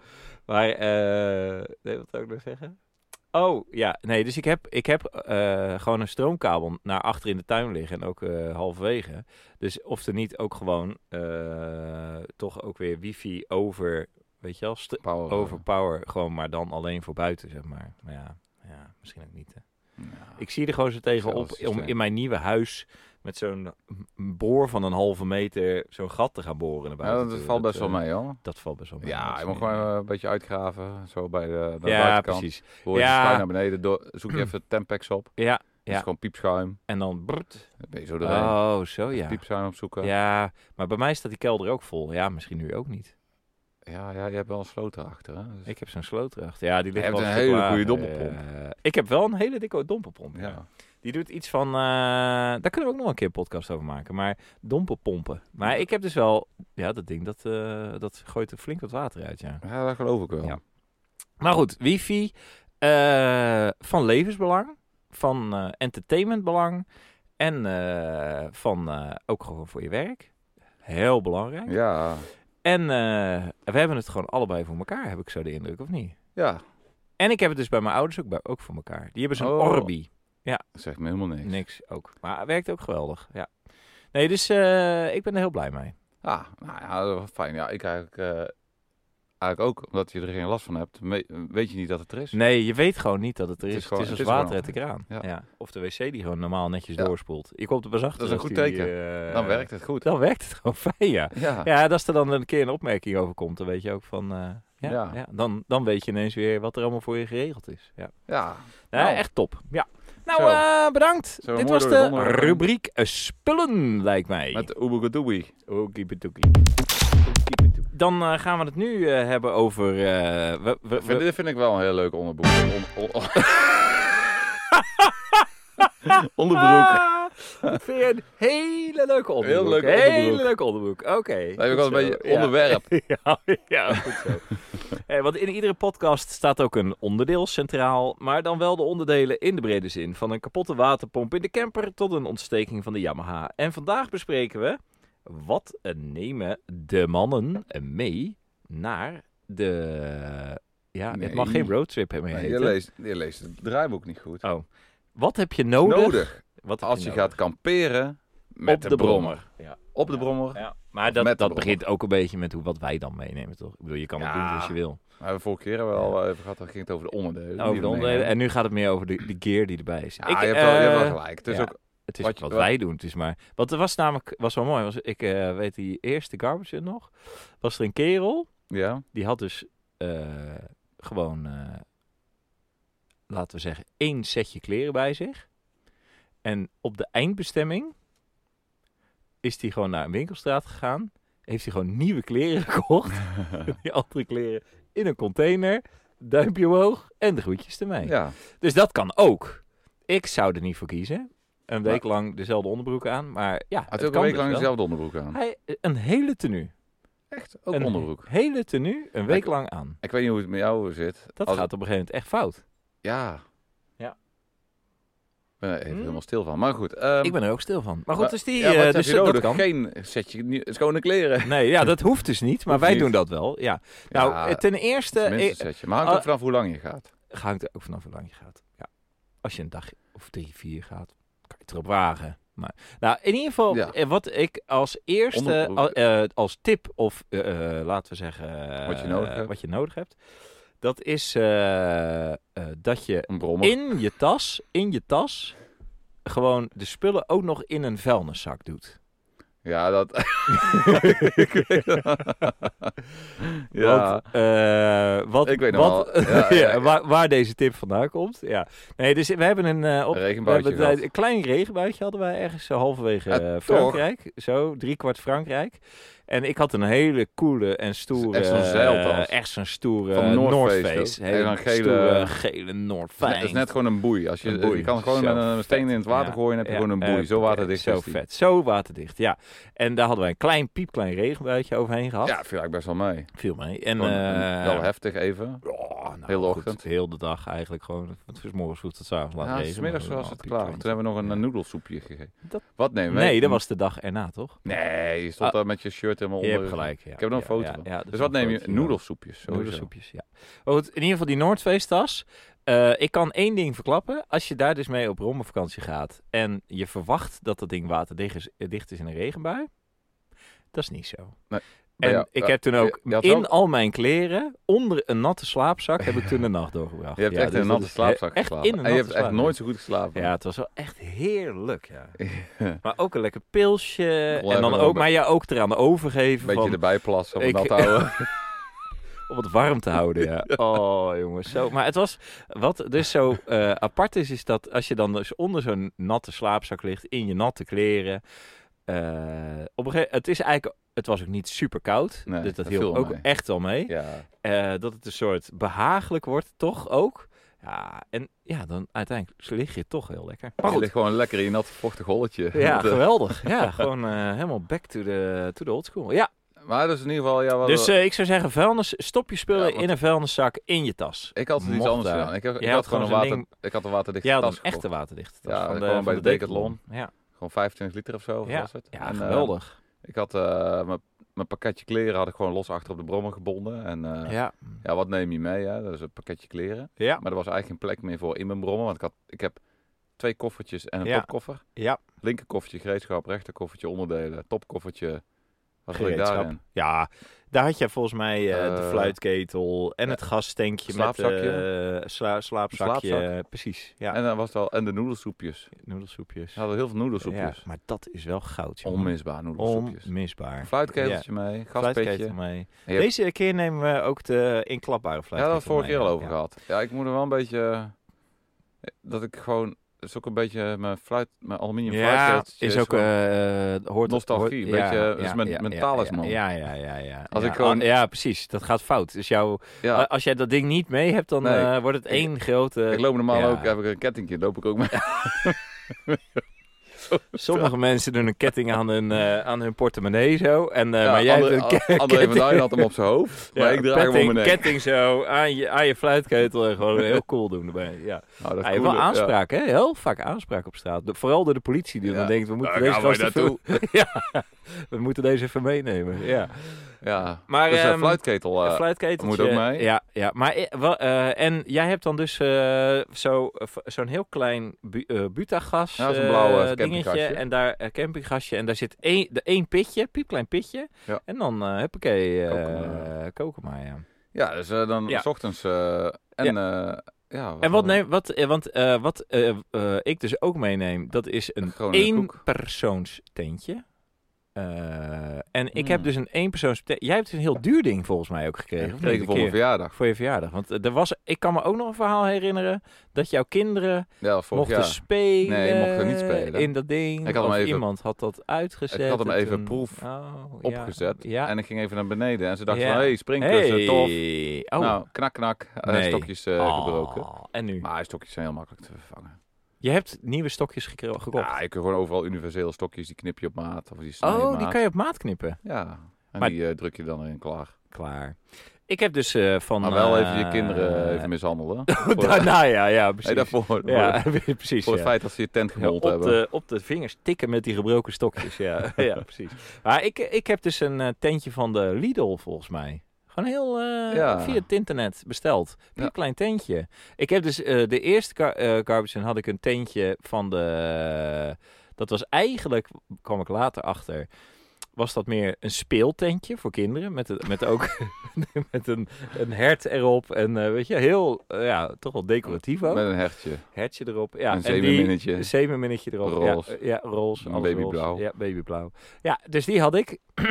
A: Maar, eh nee, wat wil ik nog zeggen? Oh, ja, nee, dus ik heb, ik heb eh, gewoon een stroomkabel naar achter in de tuin liggen en ook eh, halverwege. Dus of er niet ook gewoon eh, toch ook weer wifi over, weet je wel, st-
B: Power, eh,
A: overpower. Gewoon maar dan alleen voor buiten, zeg maar. Maar ja, ja misschien ook niet. Hè.
B: eh, ja.
A: Ik zie er gewoon zo tegen
B: Zelfde
A: op om
B: systeem.
A: in mijn nieuwe huis met zo'n m- boor van een halve meter zo'n gat te gaan boren. naar
B: Ja,
A: buiten
B: dat
A: toe.
B: valt best wel
A: eh,
B: mee hoor.
A: Dat valt best wel mee.
B: Ja,
A: Dat
B: je
A: is
B: moet
A: niet-
B: gewoon eh, een beetje uitgraven. Zo bij de, bij de
A: Ja,
B: buitenkant.
A: precies.
B: Hoor je
A: Ja.
B: schuin naar beneden. door- zoek je even Tempex op.
A: Ja,
B: Dat is gewoon piepschuim.
A: en dan... brrt.
B: Dan ben je zo doorheen.
A: Oh, zo
B: Even
A: ja.
B: Piepschuim opzoeken. Ja.
A: Ja, maar bij mij staat die kelder ook vol. Ja, misschien nu ook niet.
B: Ja, je hebt wel een sloot erachter. Hè? Dus-
A: Ik heb zo'n sloot erachter. Ja, die ligt
B: hebt
A: wel
B: een
A: stuk
B: hele
A: lager.
B: goede domperpomp.
A: Eh, ik heb wel een hele dikke domperpomp. ja.
B: ja.
A: Die doet iets van. eh, daar kunnen we ook nog een keer een podcast over maken. Maar domperpompen. Maar ik heb dus wel. Ja, dat ding dat, eh, dat gooit er flink wat water uit. Ja.
B: ja, dat geloof ik wel.
A: Ja. Maar goed, wifi. eh, van levensbelang. Van eh, entertainmentbelang. En eh, van eh, ook gewoon voor je werk. Heel belangrijk.
B: Ja,
A: En eh, we hebben het gewoon allebei voor elkaar, heb ik zo de indruk, of niet?
B: ja.
A: En ik heb het dus bij mijn ouders ook, bij, ook voor elkaar. Die hebben zo'n
B: Oh.
A: Orbi.
B: dat zegt me helemaal niks.
A: Niks ook. Maar het werkt ook geweldig. Ja. Nee, dus eh, ik ben er heel blij mee.
B: Ah, nou ja, dat was fijn. Ja, ik eigenlijk, eh, eigenlijk ook, omdat je er geen last van hebt, me- weet je niet dat het er is.
A: Nee, je weet gewoon niet dat het er is.
B: Dus- Het
A: Het
B: is
A: is,
B: gewoon-
A: als
B: het is
A: water
B: gewoon-
A: uit de kraan. Ja.
B: ja.
A: Of de wc die gewoon normaal netjes
B: Ja.
A: doorspoelt. Je komt er pas achter.
B: Dat is een
A: als
B: goed
A: die,
B: teken.
A: eh,
B: Dan werkt het goed.
A: Dan werkt het gewoon fijn, ja.
B: Ja.
A: Ja, en als er dan een keer een opmerking over komt, dan weet je ook van... eh, ja, ja.
B: Ja.
A: dan, dan weet je ineens weer wat er allemaal voor je geregeld is. Ja.
B: ja.
A: Nou,
B: Nou.
A: echt top. Ja. Nou,
B: Zo.
A: eh, bedankt.
B: Zo,
A: Dit
B: mooi
A: was
B: door de
A: de
B: donder.
A: rubriek eh, spullen, lijkt mij.
B: Met de Oeboegedoebi.
A: Okipidoki. Dan eh, gaan we het nu eh, hebben over. eh, we, we, we-
B: Dit vind ik wel een heel leuk onderbroek. On- on- onderbroek.
A: Ah, ik vind je een hele leuke onderbroek.
B: Heel leuk
A: Hele
B: onderbroek.
A: leuke onderbroek. Oké.
B: Dat heb ik wel
A: goed
B: een
A: zo.
B: beetje
A: Ja.
B: onderwerp.
A: Ja, ja, goed zo. Eh, want in iedere podcast staat ook een onderdeel centraal, maar dan wel de onderdelen in de brede zin. Van een kapotte waterpomp in de camper tot een ontsteking van de Yamaha. En vandaag bespreken we wat eh, nemen de mannen mee naar de... Ja,
B: Nee.
A: het mag geen roadtrip meer
B: Nee, je,
A: heten.
B: leest, je leest het draaiboek niet goed.
A: Oh. wat heb je nodig?
B: Nodig.
A: Wat heb
B: Als je
A: nodig?
B: gaat kamperen met
A: Op de brommer. Ja.
B: Op de brommer.
A: Ja, maar
B: Of
A: dat,
B: met de
A: dat
B: brommer.
A: begint ook een beetje met hoe, wat wij dan meenemen, toch? Ik bedoel, je kan het
B: Ja.
A: doen als je wil.
B: We hebben vorige keer hebben we al even gehad, dan ging het over de onderdelen.
A: Over
B: die
A: de
B: we
A: onderdelen.
B: meenemen.
A: En nu gaat het meer over de, de gear die erbij is.
B: Ja, je, hebt wel, je hebt
A: eh,
B: wel gelijk. Het is
A: ja.
B: ook
A: Het is wat,
B: Wat je-
A: wat
B: wat-
A: wij doen. Het is maar. Wat er was namelijk was wel mooi. Was, ik eh, weet die eerste garbage Hunt nog. Was er een kerel
B: Ja,
A: die had dus eh, gewoon, eh, laten we zeggen, één setje kleren bij zich. En op de eindbestemming is hij gewoon naar een winkelstraat gegaan. Heeft hij gewoon nieuwe kleren gekocht. die andere kleren in een container. Duimpje omhoog en de groetjes ermee.
B: ja.
A: Dus dat kan ook. Ik zou er niet voor kiezen. Een week lang dezelfde onderbroek aan. Maar ja,
B: Had
A: het
B: je ook
A: kan
B: een week
A: dus
B: lang
A: wel.
B: dezelfde onderbroek aan.
A: Hij, een hele tenue.
B: Echt? Ook
A: een
B: onderbroek.
A: hele tenue een week
B: Ik-
A: lang aan.
B: Ik weet niet hoe het met jou zit.
A: Dat
B: Als-
A: gaat op een gegeven moment echt fout.
B: Ja.
A: Ja.
B: Ik ben er even
A: Hm?
B: helemaal stil van. Maar goed. ehm,
A: ik ben er ook stil van. Maar goed,
B: maar-
A: dus die...
B: ja, wat
A: eh,
B: heb
A: dus
B: je
A: dat
B: nodig?
A: kan.
B: Geen setje nie- schone kleren.
A: Nee, ja, dat hoeft dus niet. Maar
B: Hoeft
A: wij
B: niet.
A: doen dat wel. Ja. Nou, eh, ten eerste...
B: tenminste een
A: eh,
B: setje. Maar hangt ook
A: ah,
B: vanaf hoe lang je gaat.
A: hangt er ook vanaf hoe lang je gaat. Ja. Als je een dag of drie, vier gaat, kan je het erop wagen. Maar, nou, in ieder geval,
B: Ja.
A: eh, wat ik als eerste,
B: Onderbroek.
A: al- eh, als tip of eh, eh, laten we zeggen... eh,
B: Wat je nodig hebt.
A: Wat je nodig hebt. Dat is eh, eh, dat je
B: Een brommer.
A: in je tas, in je tas, gewoon de spullen ook nog in een vuilniszak doet.
B: Ja, dat... Ik weet het. ja.
A: Want, eh, wat,
B: Ik weet nog
A: wat,
B: wel. Ja, ja, ja.
A: Waar, waar deze tip vandaan komt. Ja. Nee, dus we hebben een, eh, op,
B: Een
A: we
B: regenbuitje
A: hebben tijd-
B: gehad.
A: een klein regenbuitje hadden wij ergens eh, halverwege
B: Ja,
A: eh,
B: toch?
A: Frankrijk. Zo, driekwart Frankrijk. En ik had een hele coole en stoere...
B: Echt zo'n zeiltas.
A: eh, echt zo'n stoere
B: Van North Face, toch?
A: Hele
B: En dan gele-
A: stoere, gele North
B: Het
A: Face.
B: is net- het is net gewoon een boei. Als je,
A: Een boei.
B: je kan gewoon
A: Zo
B: met een
A: vet.
B: steen in het water
A: Ja.
B: gooien en heb je
A: Ja,
B: gewoon een boei.
A: eh,
B: Zo waterdicht
A: Zo
B: is die.
A: vet. Zo waterdicht, ja. En daar hadden wij een klein piepklein regenbuitje overheen gehad.
B: Ja, viel eigenlijk best wel mee.
A: Viel mee. En,
B: Gewoon, eh,
A: eh,
B: wel heftig even.
A: ja, nou,
B: Heel de
A: goed,
B: ochtend.
A: Heel de dag eigenlijk gewoon. Het was morgens vroeg tot 's avonds laat
B: Ja,
A: regenen.
B: smiddags
A: maar
B: was
A: wel
B: het klaar.
A: piepklein.
B: Toen hebben we nog een
A: Ja.
B: eh, noedelsoepje gegeten.
A: Dat-
B: Wat? Nee, wij-
A: Nee, dat was de dag erna, toch?
B: Nee, je stond
A: Ah.
B: daar met je shirt helemaal
A: Je
B: onder.
A: hebt gelijk. Ja.
B: Ik heb er een
A: Ja,
B: foto
A: ja,
B: van.
A: ja, er
B: Dus
A: is
B: wat
A: een eh,
B: neem je?
A: foto, ja.
B: Noedelsoepjes, sowieso.
A: Noedelsoepjes, ja. Maar goed, in ieder geval die Noordfeesttas. Eh, ik kan één ding verklappen. Als je daar dus mee op rommelvakantie gaat en je verwacht dat dat ding waterdicht is, eh, dicht is in een regenbui, dat is niet zo.
B: Nee. Maar
A: En
B: ja,
A: ik
B: ja,
A: heb toen ook
B: je had
A: in
B: wel-
A: al mijn kleren, onder een natte slaapzak, heb ik toen de nacht doorgebracht.
B: Je hebt
A: Ja,
B: echt
A: dus
B: in een
A: dat
B: natte
A: is-
B: slaapzak
A: echt
B: geslapen.
A: in een
B: en je
A: natte
B: hebt echt
A: slaapzak.
B: nooit zo goed geslapen.
A: Ja, het was wel echt heerlijk, ja.
B: Een
A: Maar ook een lekker pilsje.
B: Wel
A: en dan
B: even een
A: ook, maar ja, ook eraan overgeven
B: beetje
A: van,
B: erbij plassen om
A: Ik-
B: dat te houden.
A: om het warm te houden, ja. Oh, jongens. Zo, maar het was, wat dus zo eh, apart is, is dat als je dan dus onder zo'n natte slaapzak ligt, in je natte kleren. eh, op een gegeven, het is eigenlijk, het was ook niet super koud.
B: Nee,
A: dus dat,
B: dat viel
A: hielp
B: wel
A: ook
B: mee.
A: echt wel mee.
B: Ja.
A: Eh, dat het een soort behagelijk wordt, toch ook. Ja, en ja, dan uiteindelijk lig je toch heel lekker. Maar
B: Je
A: goed,
B: ligt gewoon lekker in je natte vochtig holletje.
A: ja,
B: Met, eh,
A: geweldig. Ja, gewoon eh, helemaal back to the, to the old school. Ja,
B: Maar dus in ieder geval, ja, we hadden-
A: dus eh, ik zou zeggen, vuilnis, stop je spullen
B: Ja, want-
A: in een vuilniszak in je tas.
B: ik had iets
A: mocht
B: anders
A: daar.
B: gedaan. Ik, heb- ik
A: Jij
B: had
A: had
B: gewoon een
A: gewoon
B: water,
A: zo'n
B: ik had een waterdichte
A: Ja,
B: tas
A: dan
B: gekocht.
A: echte waterdicht.
B: Ja,
A: van de,
B: gewoon
A: van
B: bij de Decathlon.
A: Ja,
B: Gewoon 25 liter of zo
A: Ja.
B: was het.
A: ja
B: En, eh,
A: geweldig.
B: ik had eh, mijn- mijn pakketje kleren had ik gewoon los achter op de brommer gebonden. En eh,
A: ja.
B: ja, wat neem je mee? Hè? Dat is een pakketje kleren.
A: Ja.
B: Maar er was eigenlijk geen plek meer voor in mijn brommer. Want ik, had, ik heb twee koffertjes en een
A: Ja.
B: topkoffer.
A: Ja.
B: Linker koffertje gereedschap, rechter koffertje onderdelen, topkoffertje. Wat wil ik
A: Gereedschap.
B: daarin?
A: ja, daar had jij volgens mij eh, de
B: Eh,
A: fluitketel en
B: ja.
A: het gasstankje
B: Slaapzakje.
A: met eh, sla- slaapzakje.
B: Slaapzak.
A: Precies, ja.
B: En dan was het al, en de noedelsoepjes.
A: noedelsoepjes.
B: Ze hadden heel veel noedelsoepjes.
A: Ja, maar dat is wel goud, jongen.
B: Onmisbaar noedelsoepjes. Een
A: Onmisbaar.
B: fluitketeltje mee, gaspetje.
A: Fluitketel mee.
B: En je hebt-
A: Deze keer nemen we ook de inklapbare
B: Ja, dat
A: fluitketel
B: had vorige
A: mee,
B: keer al over
A: ja.
B: gehad. Ja, ik moet er wel een beetje... eh, Dat ik gewoon... Dat is ook een beetje mijn fluit, mijn aluminium
A: Ja,
B: fluitketeltje
A: is ook
B: gewoon-
A: eh hoort
B: nostalgie,
A: hoort-
B: een beetje, dus men- mentaal is,
A: ja,
B: man.
A: Ja, ja, ja, ja.
B: Als
A: ja,
B: ik gewoon-
A: ah, ja, precies. Dat gaat fout. Dus jouw,
B: ja,
A: als jij dat ding niet mee hebt, dan
B: Nee.
A: eh, wordt het één grote.
B: ik loop normaal
A: ja.
B: ook, heb ik een kettingje, loop ik ook mee.
A: Sommige mensen doen een ketting aan hun, eh, aan hun portemonnee zo, en eh,
B: Ja,
A: maar jij
B: André,
A: hebt een ke-
B: A- André van
A: ketting.
B: Duin had hem op zijn hoofd, maar
A: ja,
B: ik draag hem
A: petting,
B: om mijn nek.
A: ketting zo aan je, aan je fluitketel en gewoon heel cool doen erbij. Ja.
B: Nou, dat is
A: Hij heeft
B: cool,
A: wel
B: ja.
A: aanspraak, hè? Heel vaak aanspraak op straat. De- vooral door de politie die
B: Ja.
A: dan denkt, we moeten
B: Daar
A: deze
B: gaan wij
A: gast even... ja, we moeten deze even meenemen. Ja.
B: Ja,
A: Maar,
B: dus een
A: ehm,
B: fluitketel. eh,
A: Een fluitketeltje.
B: moet ook mee.
A: Ja, ja. Maar, eh, wel, eh, en jij hebt dan dus eh, zo, v- zo'n heel klein bu eh, butagas
B: Ja, zo'n
A: eh,
B: blauw, eh,
A: dingetje.
B: campinggasje.
A: En daar een campinggasje. En daar zit één, de één pitje, piepklein pitje.
B: Ja.
A: En dan, eh huppakee, eh,
B: Koken maar.
A: koken maar, ja.
B: ja, dus eh, dan
A: Ja.
B: s ochtends. eh, en ja, ja
A: En wat,
B: hadden we?
A: neem, wat, eh, want, eh, wat eh, eh, ik dus ook meeneem, dat is een
B: Groningen koek.
A: eenpersoonsteentje. Eh, en ik heb
B: Mm.
A: dus een eenpersoonsteentje. Jij hebt dus een heel duur ding volgens mij ook gekregen. of
B: Ik kreeg
A: niet?
B: voor
A: Een
B: mijn
A: keer.
B: verjaardag.
A: voor je verjaardag. Want eh, er was, ik kan me ook nog een verhaal herinneren dat jouw kinderen
B: Ja, dat was vorig
A: mochten
B: jaar.
A: spelen.
B: Nee, je mocht er niet spelen.
A: In dat ding.
B: Ik had hem
A: of
B: even-
A: iemand had dat uitgezet.
B: Ik had hem
A: en
B: even
A: toen-
B: proef
A: Oh, ja.
B: Opgezet.
A: Ja.
B: En ik ging even naar beneden. En ze dachten
A: Ja.
B: van, hé, hey, springkussen, tof.
A: Hey. Oh.
B: Nou, knak, knak. eh,
A: Nee.
B: Stokjes eh,
A: Ah,
B: gebroken.
A: En nu?
B: Maar stokjes zijn heel makkelijk te vervangen.
A: Je hebt nieuwe stokjes gekro- gekocht.
B: Ja, je kunt gewoon overal universele stokjes. Die knip je op maat. Of die snij je
A: oh,
B: op
A: die
B: maat.
A: kan je op maat knippen.
B: Ja, en
A: Maar-
B: die eh, druk je dan in klaar.
A: Klaar. Ik heb dus eh, van...
B: Maar wel
A: eh,
B: even je kinderen even mishandelen. Voor-
A: Daarna, ja, ja, precies.
B: Nee, daarvoor. voor-
A: ja, precies.
B: Voor het
A: ja.
B: feit dat ze je tent
A: Ja,
B: gemold
A: op,
B: hebben.
A: de, op de vingers tikken met die gebroken stokjes. Ja, ja precies. Maar ik, ik heb dus een eh, tentje van de Lidl volgens mij. Gewoon heel eh,
B: Ja.
A: via het internet besteld.
B: Ja.
A: Een klein tentje. Ik heb dus eh, de eerste gar eh, Garbage in had ik een tentje van de... dat was eigenlijk, kwam ik later achter... Was dat meer een speeltentje voor kinderen? Met, het- met ook met een, een hert erop. En eh, weet je, heel, eh, ja, toch wel decoratief ook.
B: Met een hertje.
A: Hertje erop. Ja,
B: een
A: en die,
B: zeemerminnetje.
A: een zeemerminnetje erop.
B: Roze.
A: Ja, ja roze.
B: Een
A: alles
B: babyblauw.
A: roze. Ja, babyblauw. Ja, dus die had ik.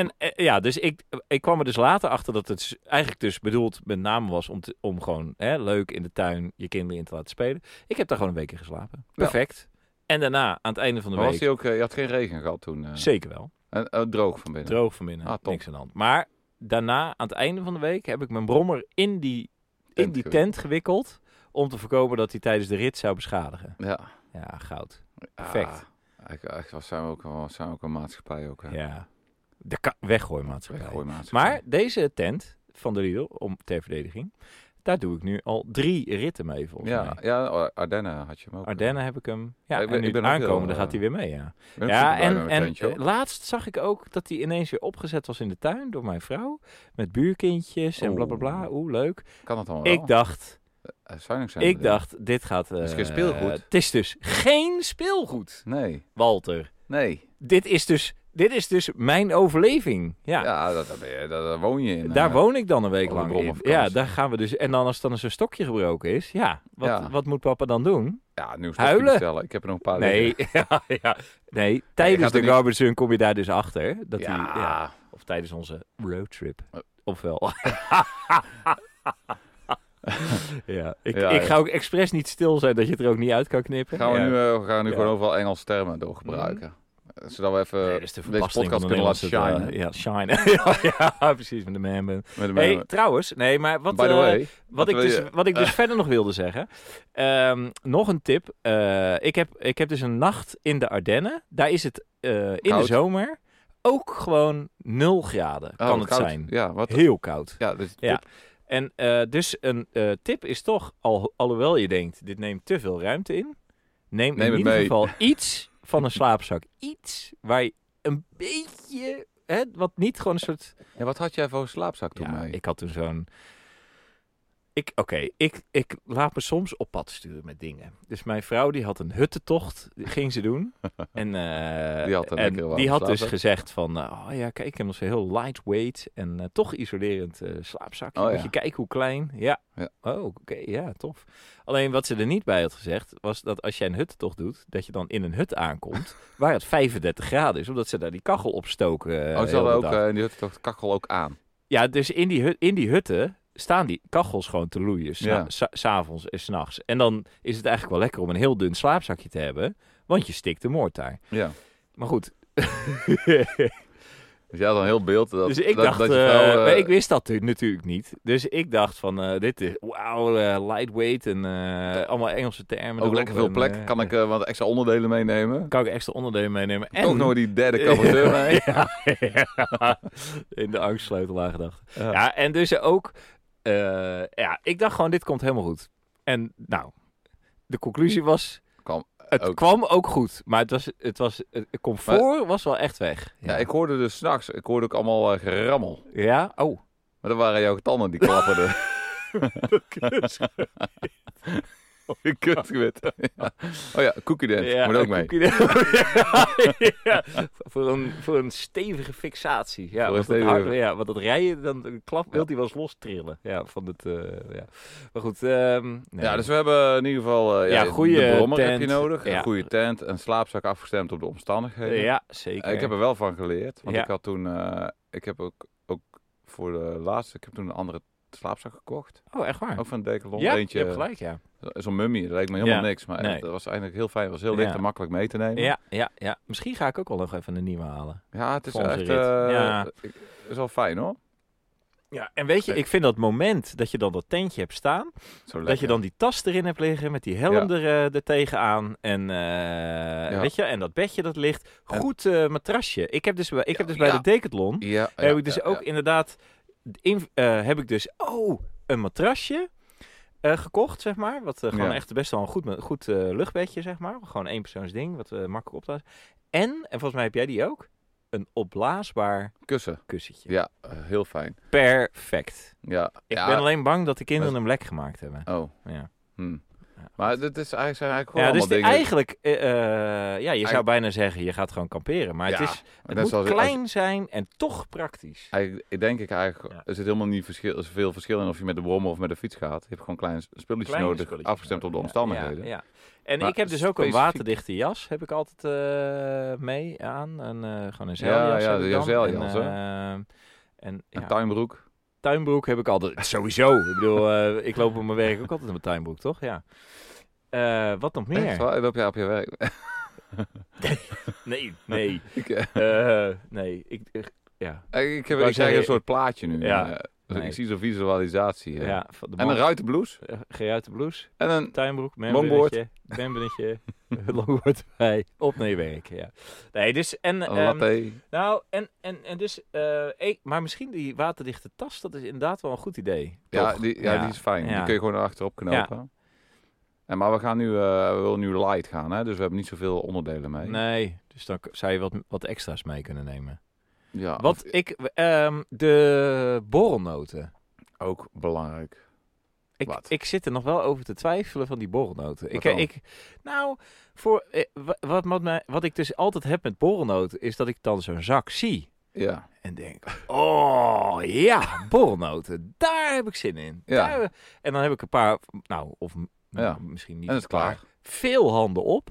A: en eh, ja, dus ik, ik kwam er dus later achter dat het s- eigenlijk dus bedoeld met name was om, te, om gewoon hè, leuk in de tuin je kinderen in te laten spelen. Ik heb daar gewoon een week in geslapen. Perfect. En daarna, aan het einde van de
B: Maar was
A: week,
B: die ook, eh, je had geen regen gehad toen. eh?
A: zeker wel.
B: En, eh, droog van binnen.
A: Droog van binnen.
B: Ah, top.
A: Niks aan de hand. Maar daarna, aan het einde van de week, heb ik mijn brommer in die, in
B: Tent
A: die
B: gewikkeld.
A: tent gewikkeld. Om te voorkomen dat hij tijdens de rit zou beschadigen.
B: Ja.
A: Ja, goud. Perfect.
B: Ah, ik, ik, we zijn ook, we zijn ook een maatschappij ook. hè.
A: Ja. De ka- weggooi maatschappij.
B: Weggooi maatschappij.
A: Maar deze tent van de Lidl, om ter verdediging, daar doe ik nu al drie ritten mee volgens
B: ja,
A: mij.
B: ja, Ardennen had je hem ook.
A: Ardennen heb ik hem. Ja,
B: Ja, ik ben-
A: en nu
B: ik ben ook
A: aankomen,
B: heel,
A: dan gaat
B: eh,
A: hij weer mee, ja.
B: Ik ben ook
A: Ja,
B: super blij
A: en,
B: met mijn
A: en
B: tentje, hoor.
A: eh, laatst zag ik ook dat hij ineens weer opgezet was in de tuin door mijn vrouw. Met buurkindjes en
B: Oeh.
A: blablabla. Bla,
B: Oh.
A: Oeh, leuk.
B: kan dat allemaal
A: Ik
B: wel?
A: dacht,
B: Eh, Zuinig zijn
A: ik
B: bedoel.
A: dacht, dit gaat... eh,
B: Het Oh. is geen speelgoed.
A: Het is dus geen speelgoed,
B: Nee,
A: Walter.
B: nee.
A: Dit is dus, dit is dus mijn overleving. Ja,
B: Ja, dat, dat ben je- dat- daar woon je in.
A: daar
B: eh,
A: woon ik dan een week
B: op de
A: lang in.
B: brommervakantie.
A: Ja, daar gaan we dus... En dan als dan eens een stokje gebroken is, ja, wat,
B: Ja. Oh,
A: wat moet papa dan doen?
B: Ja, nu stokje
A: Huilen?
B: bestellen. Ik heb er nog een paar
A: Nee,
B: liggen.
A: ja, ja. nee
B: gaat
A: tijdens
B: er
A: de
B: niet-
A: garbage run kom je daar dus achter. Dat
B: ja. Eh.
A: Die, ja, Of tijdens onze roadtrip. Ofwel. ja, ik,
B: Ja,
A: ik
B: ja.
A: ga ook expres niet stil zijn dat je het er ook niet uit kan knippen.
B: Gaan we
A: Ja.
B: nu, eh, we gaan nu
A: Ja. Mhm.
B: gewoon overal Engels termen doorgebruiken. Zodat we even
A: Nee, dat is de
B: deze
A: verpasting van
B: podcast
A: de
B: kunnen laten
A: Nederlandse,
B: shinen.
A: eh, ja, shine. ja, ja, precies, met de man ben.
B: Met, met,
A: Hey, trouwens, nee, maar wat,
B: by the
A: eh,
B: way, oh,
A: wat,
B: wat
A: ik
B: wil
A: dus,
B: je? Ah.
A: wat ik dus verder nog wilde zeggen. Ehm, nog een tip. Eh, ik, heb, ik heb dus een nacht in de Ardennen. Daar is het eh, in de
B: Koud.
A: zomer ook gewoon 0 graden.
B: oh,
A: kan het
B: koud.
A: zijn.
B: Ja, wat,
A: Heel koud.
B: ja, dus
A: Ja. En eh, dus een eh, tip is toch, al, alhoewel je denkt, dit neemt te veel ruimte in. Neem,
B: Neem
A: in
B: het
A: ieder
B: mee.
A: geval iets van een slaapzak. Iets waar je een beetje, hè, wat niet gewoon een soort...
B: Ja, wat had jij voor een slaapzak toen
A: Ja,
B: mee?
A: ik had toen zo'n... Ik, Oké, ik, ik laat me soms op pad sturen met dingen. Dus mijn vrouw die had een huttentocht, die ging ze doen. En, eh,
B: Die had een lekkere
A: en
B: warme
A: die had dus
B: slaapzak.
A: gezegd van, eh, oh ja, kijk, ik heb nog zo'n heel lightweight en eh, toch isolerend eh slaapzakje.
B: Oh
A: Moet
B: ja.
A: je kijken hoe klein. Ja, Oh, oké, ja, tof. Alleen wat ze er niet bij had gezegd, was dat als jij een huttocht doet, dat je dan in een hut aankomt waar het 35 graden is, omdat ze daar die kachel opstoken. eh, heel
B: oh, ze
A: de
B: hadden ook
A: dag.
B: eh, in die hut toch de kachel ook aan.
A: Ja, dus in die, hut, in die hutten staan die kachels gewoon te loeien, sna-
B: Ja.
A: sa- s'avonds en s'nachts. En dan is het eigenlijk wel lekker om een heel dun slaapzakje te hebben, want je stikt de moord daar.
B: Ja.
A: Maar goed,
B: Dus jij had een heel beeld. Dat,
A: dus ik
B: dat,
A: dacht,
B: dat je
A: eh,
B: vrouw, eh,
A: maar ik wist dat tu- natuurlijk niet. Dus ik dacht van, eh, dit is, wauw, eh, lightweight en eh, allemaal Engelse termen.
B: ook lekker veel plek. kan ik eh, wat extra onderdelen meenemen?
A: kan ik extra onderdelen meenemen. En
B: Toch nog die derde caboteur mee?
A: ja, ja. in de angstsleutel aangedacht. Ja.
B: Ja.
A: en dus ook, eh, ja, ik dacht gewoon, dit komt helemaal goed. En nou, de conclusie was,
B: Kwam
A: het
B: ook-
A: kwam ook goed. Maar het, was, het, was, het comfort was wel echt weg.
B: Ja, ik hoorde dus s'nachts, ik hoorde ook allemaal eh, gerammel.
A: ja? oh.
B: Maar dat waren jouw tanden die klapperden. Je kunt gewit. Ja. Oh ja, cookie dent. Moet ook
A: een
B: mee.
A: cookie- ja, ja. Voor, een, voor een stevige fixatie. Ja,
B: Voor
A: want,
B: een
A: dat
B: stevige-
A: hard- ja, want dat rijden, dan klap, wil hij wel eens los trillen. Ja, van het, eh, ja. Maar goed. ehm, nee.
B: Ja, dus we hebben in ieder geval eh,
A: Ja,
B: ja,
A: goede
B: de brommer
A: tent.
B: heb je nodig.
A: Ja.
B: Een goede tent, een slaapzak afgestemd op de omstandigheden. Eh,
A: ja, zeker.
B: Ik heb er wel van geleerd. Want
A: Ja.
B: ik had toen, eh, ik heb ook, ook voor de laatste, ik heb toen een andere slaapzak gekocht.
A: Oh, echt waar?
B: Ook van Decathlon.
A: ja,
B: Eentje,
A: je hebt gelijk, ja.
B: Zo'n mummy, dat leek me helemaal
A: Ja.
B: niks. Maar
A: Nee.
B: dat was eigenlijk heel fijn. was heel licht
A: Ja.
B: en makkelijk mee te nemen.
A: ja. Ja, ja. Misschien ga ik ook wel nog even een nieuwe halen.
B: Ja, het is
A: Voor onze
B: echt,
A: rit.
B: eh
A: Ja.
B: ik- is wel fijn hoor.
A: Ja, en weet je, ik vind dat moment dat je dan dat tentje hebt staan,
B: Zo
A: dat je
B: lekker.
A: dan die tas erin hebt liggen met die helm
B: Ja.
A: er, eh, er tegenaan en, eh, weet je, en dat bedje dat ligt,
B: En-
A: goed eh, matrasje. Ik heb dus, bij- ik heb dus
B: Ja,
A: bij
B: ja.
A: de Decathlon,
B: Ja,
A: heb
B: Oh ja,
A: ik dus
B: ja,
A: ook
B: ja.
A: inderdaad, in, eh, heb ik dus, oh, een matrasje eh, gekocht, zeg maar. Wat eh, gewoon
B: Ja.
A: echt best wel een goed, ma- goed eh, luchtbedje, zeg maar. Gewoon één persoons ding, wat eh, makkelijk opblaast. En, en volgens mij heb jij die ook, een opblaasbaar
B: Kussen.
A: kussentje.
B: Ja, eh, heel fijn.
A: Perfect.
B: Ja.
A: Ik
B: ja.
A: ben alleen bang dat de kinderen hem lek gemaakt hebben.
B: Oh.
A: Ja.
B: Hm.
A: Ja.
B: Maar dit is eigenlijk, zijn eigenlijk gewoon
A: Ja, dus
B: allemaal
A: de-
B: dingen.
A: eigenlijk, eh, eh, ja, je zou
B: Eigen-
A: bijna zeggen, je gaat gewoon kamperen. Maar het,
B: Ja,
A: is, het
B: net
A: moet
B: zoals- als-
A: klein zijn en toch praktisch.
B: Eigenlijk, ik denk ik eigenlijk,
A: Ja.
B: er zit helemaal niet verschil, veel verschil in of je met de brommer of met de fiets gaat. Je hebt gewoon kleine spulletjes
A: Kleine
B: nodig,
A: spulletjes
B: afgestemd op de
A: nodig, ja.
B: omstandigheden.
A: Ja, ja. En
B: Maar
A: ik heb dus ook een
B: specifiek-
A: waterdichte jas, heb ik altijd eh, mee aan. En, eh, gewoon een zeiljas
B: Ja, ja,
A: heb ik
B: de
A: dan.
B: zeiljas,
A: en, eh,
B: hè.
A: en
B: Een Ah,
A: ja,
B: tuinbroek.
A: tuinbroek heb ik altijd. Sowieso. ik bedoel, eh, ik loop op mijn werk ook altijd in mijn tuinbroek, toch? Ja. Eh, wat nog
B: Echt
A: meer?
B: waar? Loop jij op je werk?
A: Nee, nee.
B: ik, eh,
A: Eh, nee, ik... eh, ja.
B: ik, heb,
A: Wou
B: ik krijg
A: zeggen-
B: een soort plaatje nu.
A: Ja.
B: eh, dus
A: Nee.
B: Ik zie zo'n visualisatie. eh.
A: ja van de
B: En een
A: man-
B: ruitenblouse.
A: eh, geruite blouse,
B: En een...
A: tuinbroek,
B: Longboard.
A: membrilletje, membrilletje, longboard bij, op naar je werk, ja. Nee, dus en...
B: Een
A: ehm,
B: latte.
A: nou, en, en, en dus... eh, eh, maar misschien die waterdichte tas, dat is inderdaad wel een goed idee.
B: Ja,
A: toch?
B: die, ja, die is fijn. Die
A: Ja.
B: kun je gewoon achterop knopen. En, maar we gaan nu, eh, we willen nu light gaan, hè? dus we hebben niet zoveel onderdelen mee.
A: Nee, dus dan k- zou je wat, wat extra's mee kunnen nemen.
B: Ja,
A: Wat ik... ehm, de borrelnoten.
B: ook belangrijk.
A: Ik,
B: Wat?
A: ik zit er nog wel over te twijfelen van die borrelnoten. Ik,
B: dan?
A: ik, nou, voor, eh, wa- wat, wat, mij, wat ik dus altijd heb met borrelnoten is dat ik dan zo'n zak zie.
B: Ja,
A: En denk, oh ja, borrelnoten, daar heb ik zin in.
B: Ja.
A: Daar- en dan heb ik een paar, nou, of m-
B: Ja.
A: misschien niet
B: en het is
A: een paar,
B: klaar.
A: Veel handen op.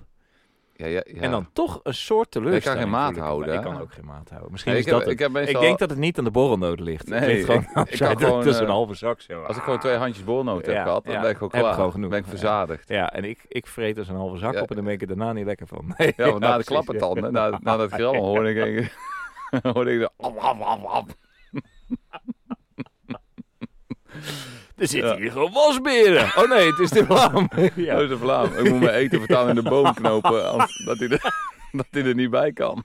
B: Ja, ja, ja.
A: En dan toch een soort teleurstelling.
B: geen maat
A: voel maar
B: houden,
A: Ik
B: hè?
A: kan ook geen maat houden. Misschien
B: Nee,
A: is
B: ik, heb,
A: dat het.
B: ik heb meestal...
A: Ik denk dat het niet aan de borrelnoten ligt.
B: Nee,
A: het ligt
B: ik-
A: gewoon,
B: ik kan
A: aan-
B: gewoon,
A: tussen
B: eh,
A: een halve zak. Zo.
B: Als ik gewoon twee handjes bolnoten
A: Ja,
B: heb gehad, dan
A: ja.
B: ben ik gewoon
A: Heb ik
B: klaar.
A: gewoon genoeg.
B: ben ik
A: Ja.
B: verzadigd.
A: Ja, en ik, ik vreet dus een halve zak
B: Ja.
A: op en dan ben ik er daarna niet lekker van. Nee,
B: Ja, want na de
A: precies, ja.
B: klappentanden, na, na dat grammel, hoorde ik, denk ik- hoorde ik de... Op, op, op, op.
A: Er zitten
B: Ja.
A: hier gewoon wasberen. Oh nee, het is de vlam.
B: Oh,
A: ja.
B: dat is een Vlaam. Ik moet mijn eten vertalen in de boom knopen, anders dat hij er, dat hij er niet bij kan.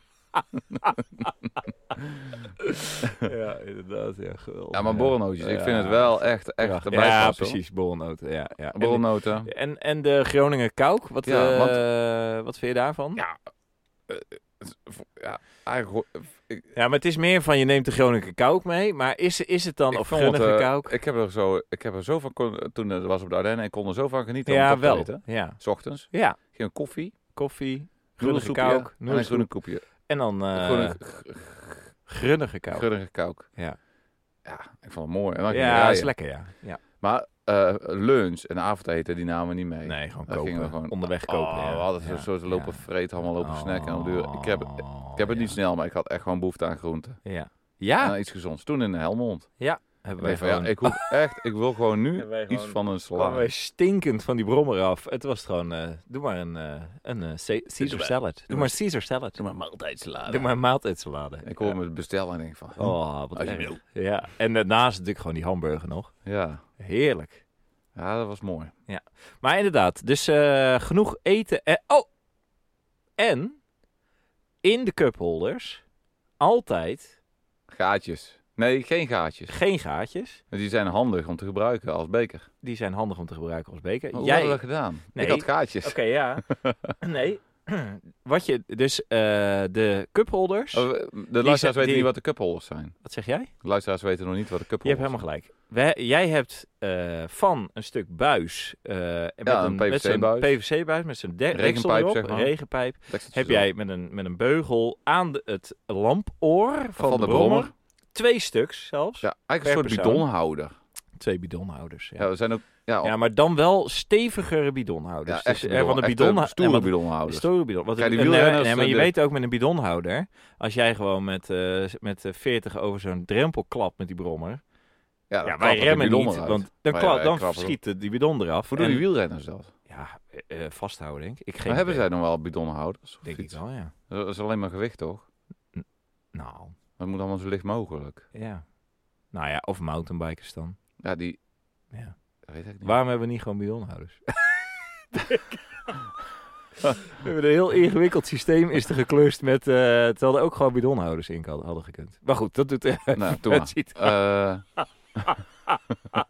A: ja, inderdaad. Ja, geweldig.
B: Ja, maar borrelnootjes, ik
A: Ja.
B: vind het wel echt, echt
A: Ja,
B: erbij
A: ja
B: passen, hoor.
A: precies. Borrelnoten. Ja, ja. En,
B: Borrelnoten.
A: en, en de Groningen Kauk, wat,
B: Ja,
A: eh,
B: want-
A: wat vind je daarvan? Ja.
B: eh, Ja, eigenlijk... hoor- Ik,
A: maar het is meer van je neemt de Groningen Kauk mee, maar is, is het dan,
B: ik
A: of
B: vond het,
A: Groningen
B: eh,
A: Kauk?
B: ik, heb er zo, ik heb er zo van... kon- Toen het was op de Ardennen, ik kon er zo van genieten om het
A: Ja,
B: op te
A: wel.
B: eten.
A: Ja.
B: S ochtends.
A: ja,
B: Ging een koffie,
A: koffie, Groningen
B: noedelsoepje en
A: Kauk,
B: een groene
A: noedelsoep
B: koepje.
A: en dan eh
B: Groene-
A: Grunnige Kauk.
B: Grunnige kouk.
A: Ja.
B: Ja, ik vond het mooi. En dan ging ik
A: Ja,
B: rijden.
A: is lekker, ja. ja.
B: Maar eh, lunch en avondeten, die namen we niet mee.
A: Nee, gewoon
B: Dat
A: kopen.
B: gingen we gewoon-
A: Onderweg
B: Oh,
A: kopen. ja.
B: We hadden
A: Ja,
B: zo'n soort lopen
A: ja. Oh,
B: vreten, allemaal lopen snacken. En op de duur- ik heb, ik heb het
A: ja.
B: niet snel, maar ik had echt gewoon behoefte aan groenten.
A: Ja.
B: En
A: Ja,
B: aan iets gezonds. Toen in Helmond.
A: hebben
B: Ik,
A: wij
B: van, ja,
A: gewoon...
B: ik, hoef echt, ik wil gewoon nu
A: Hebben wij
B: iets
A: gewoon-
B: van een
A: kwamen wij
B: salade.
A: stinkend van die brommer af. Het was gewoon, eh, doe maar een, eh, een eh, ce- Caesar
B: maar-
A: salad. Doe maar Caesar salad.
B: maar maaltijdsalade.
A: Doe maar een maaltijdsalade.
B: Ik hoor me het bestellen en denk van...
A: Oh, wat
B: Als je
A: erg.
B: wil.
A: Ja, en daarnaast natuurlijk gewoon die hamburger nog.
B: "Hm, Ja.
A: Heerlijk.
B: ja, dat was mooi.
A: Maar inderdaad, dus eh, genoeg eten. En, oh! En in de cupholders altijd
B: Gaatjes. Nee, geen gaatjes.
A: geen gaatjes.
B: Die zijn handig om te gebruiken als beker.
A: Die zijn handig om te gebruiken als beker.
B: Maar Hoe
A: Eh, Jij,
B: hadden we dat gedaan?
A: Nee.
B: Ik had gaatjes.
A: Oké, ja. nee. Wat je, dus eh, de cupholders.
B: Oh, we- de luisteraars
A: zijn-
B: weten
A: die-
B: niet wat de cupholders zijn.
A: Wat zeg jij?
B: De luisteraars weten nog niet wat de
A: Je hebt
B: cupholders
A: helemaal gelijk. We, jij hebt eh, van een stuk buis. eh, met
B: een
A: met zo'n
B: PVC-buis.
A: PVC-buis met zijn de-
B: Regenpijp,
A: deksel erop,
B: zeg maar.
A: regenpijp.
B: zijn. Tekst-
A: Heb jij met een, met een beugel aan de, het lampoor van, de, brommer. Twee stuks zelfs.
B: Ja, eigenlijk een
A: Per
B: soort
A: persoon.
B: bidonhouder.
A: Twee bidonhouders. Ja.
B: Ja, we zijn ook... Ja,
A: Ja, maar dan wel stevigere bidonhouders.
B: Ja,
A: Dus,
B: echt
A: eh,
B: bidon,
A: van de
B: echt,
A: bidon,
B: eh, stoere
A: nee, want-
B: bidonhouders.
A: Stoere bidon. Want
B: Kijk, die
A: eh, nee,
B: wielrenners,
A: nee, maar
B: eh,
A: je
B: de-
A: weet ook met een bidonhouder, als jij gewoon met, eh, met eh, 40 over zo'n drempel klapt met die brommer.
B: Ja,
A: Ja,
B: dan klappen
A: wij
B: de
A: remmen
B: bidonnen
A: niet,
B: uit.
A: want dan,
B: Maar
A: kla-
B: ja,
A: dan
B: klappen.
A: schiet de- die bidon eraf.
B: Hoe doen
A: En-
B: die wielrenners dat?
A: Ja, eh, eh, vasthouden denk ik. ik geen
B: Maar hebben
A: idee.
B: zij nog wel bidonhouders? Of
A: Denk ik
B: iets?
A: wel, ja.
B: Dat is alleen maar gewicht, toch?
A: Nou,
B: Dat moet allemaal zo licht mogelijk.
A: ja. Nou ja, of mountainbikers dan.
B: Ja, die...
A: Ja.
B: Dat weet ik niet.
A: Waarom hebben we niet gewoon bidonhouders? We hebben een heel ingewikkeld systeem is er geklust met... eh, terwijl er ook gewoon bidonhouders in kan- hadden gekund. Maar goed, dat doet... eh,
B: Nou, doe
A: het
B: maar.
A: ziet
B: Eh,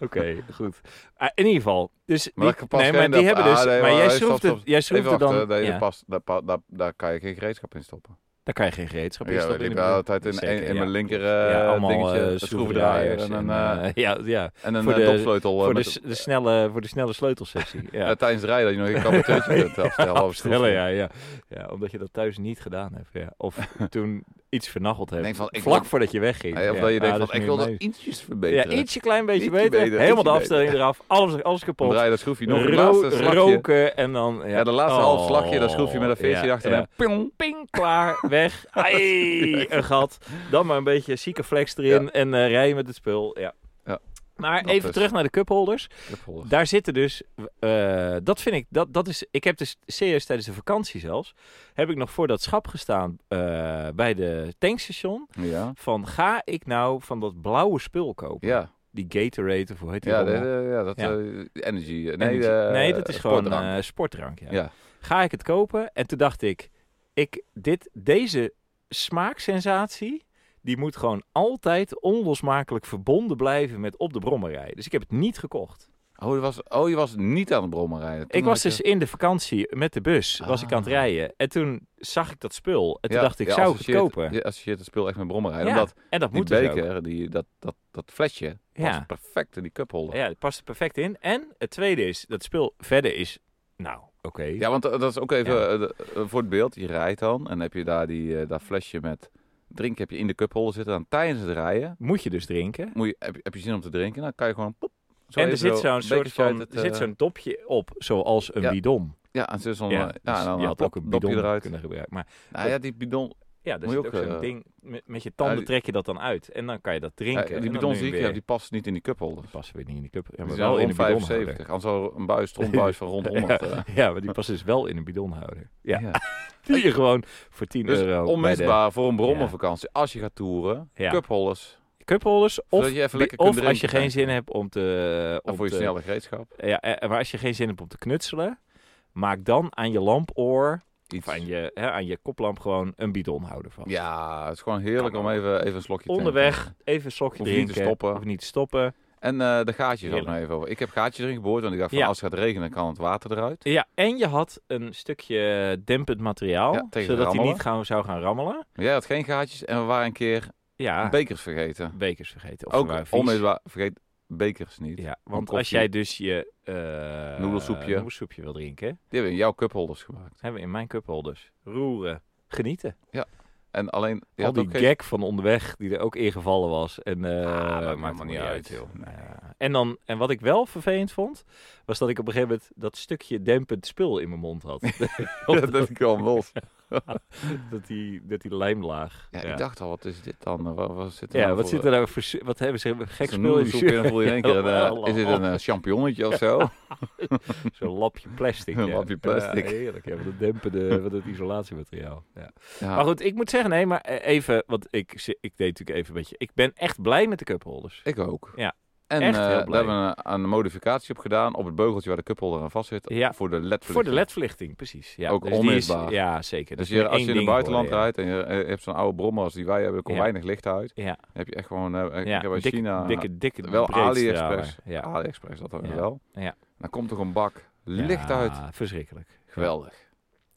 A: Oké, goed. Ah, in ieder geval. Dus
B: Maar
A: die,
B: dat past
A: nee, maar
B: geen-
A: die hebben
B: ah,
A: dus.
B: nee,
A: maar
B: maar
A: jij
B: nee,
A: schroeft
B: stop,
A: het. Jij schroeft
B: even
A: het dan.
B: wachten, nee,
A: ja,
B: dat past- daar, pa- daar, daar kan je geen gereedschap in stoppen.
A: daar kan je geen gereedschap in
B: Ja,
A: stoppen
B: weet ik
A: in
B: wel,
A: de-
B: altijd in,
A: Zeker,
B: in, in
A: ja.
B: mijn linker eh,
A: ja, allemaal
B: dingetje,
A: eh,
B: een schroevendraaier en, een, eh,
A: eh, ja, ja,
B: en een
A: voor
B: eh,
A: de-
B: dopsleutel. eh,
A: voor, de,
B: met-
A: s- de snelle, voor de snelle sleutelsessie.
B: eh,
A: Ja.
B: tijdens het rijden dat je nog een kapiteurtje kunt afstellen. of
A: Snelle,
B: schroeven.
A: ja, ja. ja, omdat je dat thuis niet gedaan hebt. Ja. Of toen iets vernacheld hebt.
B: Denk van, ik
A: vlak
B: wil-
A: voordat je wegging.
B: Ja, of
A: Ja,
B: dat je
A: ah,
B: denkt
A: dat
B: van,
A: is meer
B: ik wil dat
A: mijn-
B: ietsjes
A: Ja,
B: verbeteren.
A: ietsje klein beetje
B: Ietsje
A: beter.
B: beter,
A: Helemaal de
B: ietsje
A: afstelling eraf. Alles, alles
B: Dan
A: kapot.
B: draai je dat schroefje nog
A: Ro-
B: een laatste slagje.
A: roken en dan... Ja,
B: Ja, de laatste
A: Oh,
B: half slagje, dat schroefje met een veertje
A: ja,
B: achter
A: ja.
B: en ping.
A: ping, klaar, weg. Ai, een gat. Dan maar een beetje zieke flex erin en eh rijden met het spul. Ja.
B: Ja.
A: Maar
B: Dat
A: even
B: dus.
A: terug naar de cupholders.
B: Cupholders.
A: Daar zitten dus, eh, dat vind ik, dat, dat is, ik heb dus serieus tijdens de vakantie zelfs, heb ik nog voor dat schap gestaan eh, bij de tankstation.
B: Ja.
A: Van ga ik nou van dat blauwe spul kopen?
B: Ja,
A: Die Gatorade of hoe heet die?
B: ja,
A: rommel?
B: de- de- ja, dat
A: Ja.
B: eh, energy. eh,
A: En
B: Nee,
A: die-
B: de,
A: nee, dat is
B: eh,
A: gewoon
B: sportdrank.
A: sportdrank. sportdrank ja.
B: ja.
A: Ga ik het kopen? En toen dacht ik, ik dit, deze smaaksensatie, die moet gewoon altijd onlosmakelijk verbonden blijven met op de brommer rijden. Dus ik heb het niet gekocht.
B: Oh, je was, oh, je was niet aan het brommen rijden. Toen
A: eh, Ik was
B: had
A: dus
B: je-
A: in de vakantie met de bus, was ik aan het
B: Ah.
A: rijden. En toen zag ik dat spul. En toen
B: Ja,
A: dacht ik,
B: je
A: zou ik het
B: associeert-
A: kopen?
B: Je associeert het spul echt met brommen rijden.
A: Ja,
B: Omdat
A: en dat
B: die
A: moet dus ook.
B: beker, die, dat, dat, dat flesje,
A: Ja.
B: past perfect in die cupholder.
A: Ja, het past er perfect in. En het tweede is, dat spul verder is, nou, oké.
B: Ja, want eh, dat is ook even
A: Ja.
B: eh, de- eh, voor het beeld. Je rijdt dan en heb je daar die, eh, dat flesje met drinken heb je in de cupholder zitten. Dan tijdens het rijden
A: Moet je dus drinken.
B: moet je, heb, je- heb je zin om te drinken. Dan kan je gewoon poep, zo
A: en
B: even
A: er zit
B: zo
A: zo'n
B: een
A: soort
B: bekertje
A: van,
B: uit het,
A: er zit
B: eh,
A: zo'n dopje op, zoals een
B: Ja.
A: bidon.
B: Ja, en zo'n... eh,
A: Ja,
B: Ja, nou,
A: dus
B: ja, dan
A: je had ook een
B: dop je
A: bidon
B: eruit.
A: kunnen gebruiken. Maar
B: Nou ja, die bidon...
A: ja, er
B: Moet je
A: zit ook
B: ook,
A: zo'n
B: eh,
A: ding, met, met je
B: ja,
A: tanden
B: die-
A: trek je dat dan uit. En dan kan je dat drinken.
B: ja,
A: En
B: die
A: dan
B: bidon
A: nu
B: zie ik,
A: weer-
B: ja, die past niet in die Dus cupholder.
A: die passen weer niet in de cup. Ja,
B: Die
A: maar
B: zijn
A: wel in de
B: rond
A: bidonhouder.
B: 75. Anders zou een buis, rondbuis van rond 100. eh.
A: Ja, maar die passen dus wel in een bidonhouder. Ja.
B: Ja.
A: Die je gewoon voor 10
B: Dus
A: euro.
B: onmisbaar voor een
A: Ja.
B: brommervakantie. Als je gaat toeren,
A: Ja.
B: cupholders.
A: Bij de cupholders. Of,
B: Zodat je even
A: bi-
B: lekker kunt
A: of als je
B: drinken.
A: geen zin hebt om te.
B: Of
A: om
B: voor je
A: te-
B: snelle gereedschap.
A: Ja, eh, maar als je geen zin hebt om te knutselen, maak dan aan je lampoor.
B: Iets.
A: Of aan je, hè, aan je koplamp gewoon een bidonhouder van.
B: Ja, het is gewoon heerlijk
A: Kan
B: om even, even een slokje te
A: Onderweg.
B: drinken.
A: Even een slokje
B: eh, Hoef niet
A: drinken.
B: te stoppen.
A: Of niet te stoppen.
B: En eh, de gaatjes ook
A: Heerlijk.
B: nog even over. Ik heb gaatjes erin geboord, want ik dacht van
A: Ja.
B: als het gaat regenen kan het water eruit.
A: Ja, en je had een stukje dempend materiaal.
B: Ja, tegen
A: zodat hij
B: rammelen.
A: niet gaan, zou gaan rammelen.
B: Maar jij had geen gaatjes en we waren een keer
A: Ja,
B: bekers vergeten.
A: bekers vergeten. Ah. Of ze
B: Ook
A: waren vies.
B: onmisbaar, vergeet bekers niet.
A: Ja, want als
B: koffie.
A: jij dus je eh
B: Noedelsoepje.
A: noedelsoepje wil drinken,
B: Die hebben in jouw cupholders gemaakt.
A: hebben we in mijn cupholders roeren, genieten.
B: En alleen, je
A: Al
B: had
A: die
B: ook geen-
A: gek van onderweg die er ook ingevallen was. En eh
B: Ah, maakt
A: maakt
B: helemaal
A: helemaal
B: niet uit.
A: Nee. En, dan, en wat ik wel vervelend vond, was dat ik op een gegeven moment dat stukje dempend spul in mijn mond had.
B: Ja,
A: dat,
B: dat ik al los.
A: dat, die, dat die lijmlaag.
B: Ja, ik dacht al, wat is dit dan? Wat, wat zit er
A: Ja,
B: nou
A: wat,
B: voor-
A: zit er nou voor, su- wat hebben ze een gek
B: zo'n
A: spul in die
B: noedelsoep en
A: shirt?
B: dan voel je in één keer,
A: Ja,
B: eh, is dit een eh, champignonnetje of zo?
A: Zo'n lapje plastic.
B: Een
A: ja.
B: lapje plastic.
A: Ja, heerlijk, ja, want dat dempende, want het isolatiemateriaal. Ja.
B: Ja.
A: Maar goed, ik moet zeggen, nee, maar eh, even, want ik, zi- ik deed natuurlijk even een beetje... Ik ben echt blij met de cupholders.
B: Ik ook.
A: Ja.
B: En
A: Echt
B: eh,
A: heel
B: daar
A: blij.
B: hebben we een, een modificatie op gedaan op het beugeltje waar de cupholder aan vast zit.
A: Ja.
B: Voor de led
A: Voor de ledverlichting, precies. Ja, Dus
B: Ook
A: die is-
B: onmisbaar.
A: Ja, zeker. Dat
B: Dus
A: is
B: je,
A: maar
B: als
A: één
B: je in het
A: ding
B: buitenland
A: geworden,
B: rijdt en je, eh, hebt zo'n oude brommer als die wij hebben, er komt
A: Ja.
B: weinig licht uit.
A: Ja,
B: Dan heb je echt gewoon, eh, ik
A: ja.
B: heb bij
A: dikke,
B: China
A: dikke, dikke,
B: wel
A: breedstraler.
B: AliExpress. Ah,
A: Ja.
B: AliExpress, dat hebben we
A: Ja.
B: wel.
A: Ja.
B: Dan komt er een bak licht
A: Ja,
B: uit.
A: Verschrikkelijk.
B: Geweldig.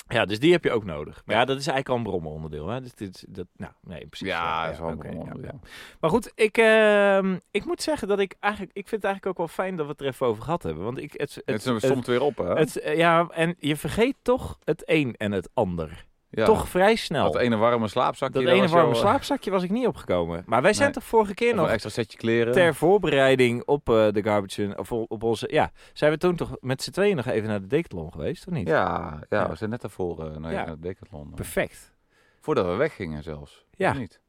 A: Ja, dus die heb je ook nodig. Maar ja, dat is eigenlijk al een brommeronderdeel. Hè? Dus dit, dat, nou, nee, precies.
B: Ja, dat is wel een
A: oké,
B: brommer,
A: ja,
B: ja.
A: ja. Maar goed, ik, ehm, ik moet zeggen dat ik eigenlijk... Ik vind het eigenlijk ook wel fijn dat we het er even over gehad hebben. Want ik, het, het,
B: Het, somt weer op, hè?
A: het- eh, ja, en je vergeet toch het een en het ander.
B: Ja.
A: Toch vrij snel.
B: Dat ene warme slaapzakje.
A: Dat
B: daar
A: ene
B: was jou,
A: warme
B: eh,
A: slaapzakje was ik niet opgekomen. Maar wij zijn
B: Nee.
A: toch vorige keer
B: of een
A: nog
B: extra setje kleren.
A: ter voorbereiding op eh, de Garbage Run, of op onze... Ja, zijn we toen toch met z'n tweeën nog even naar de Decathlon geweest, of niet?
B: Ja, ja,
A: Ja.
B: we zijn net daarvoor eh, naar,
A: Ja.
B: naar de Decathlon. eh.
A: Perfect.
B: Voordat we weggingen zelfs.
A: Ja.
B: Of niet?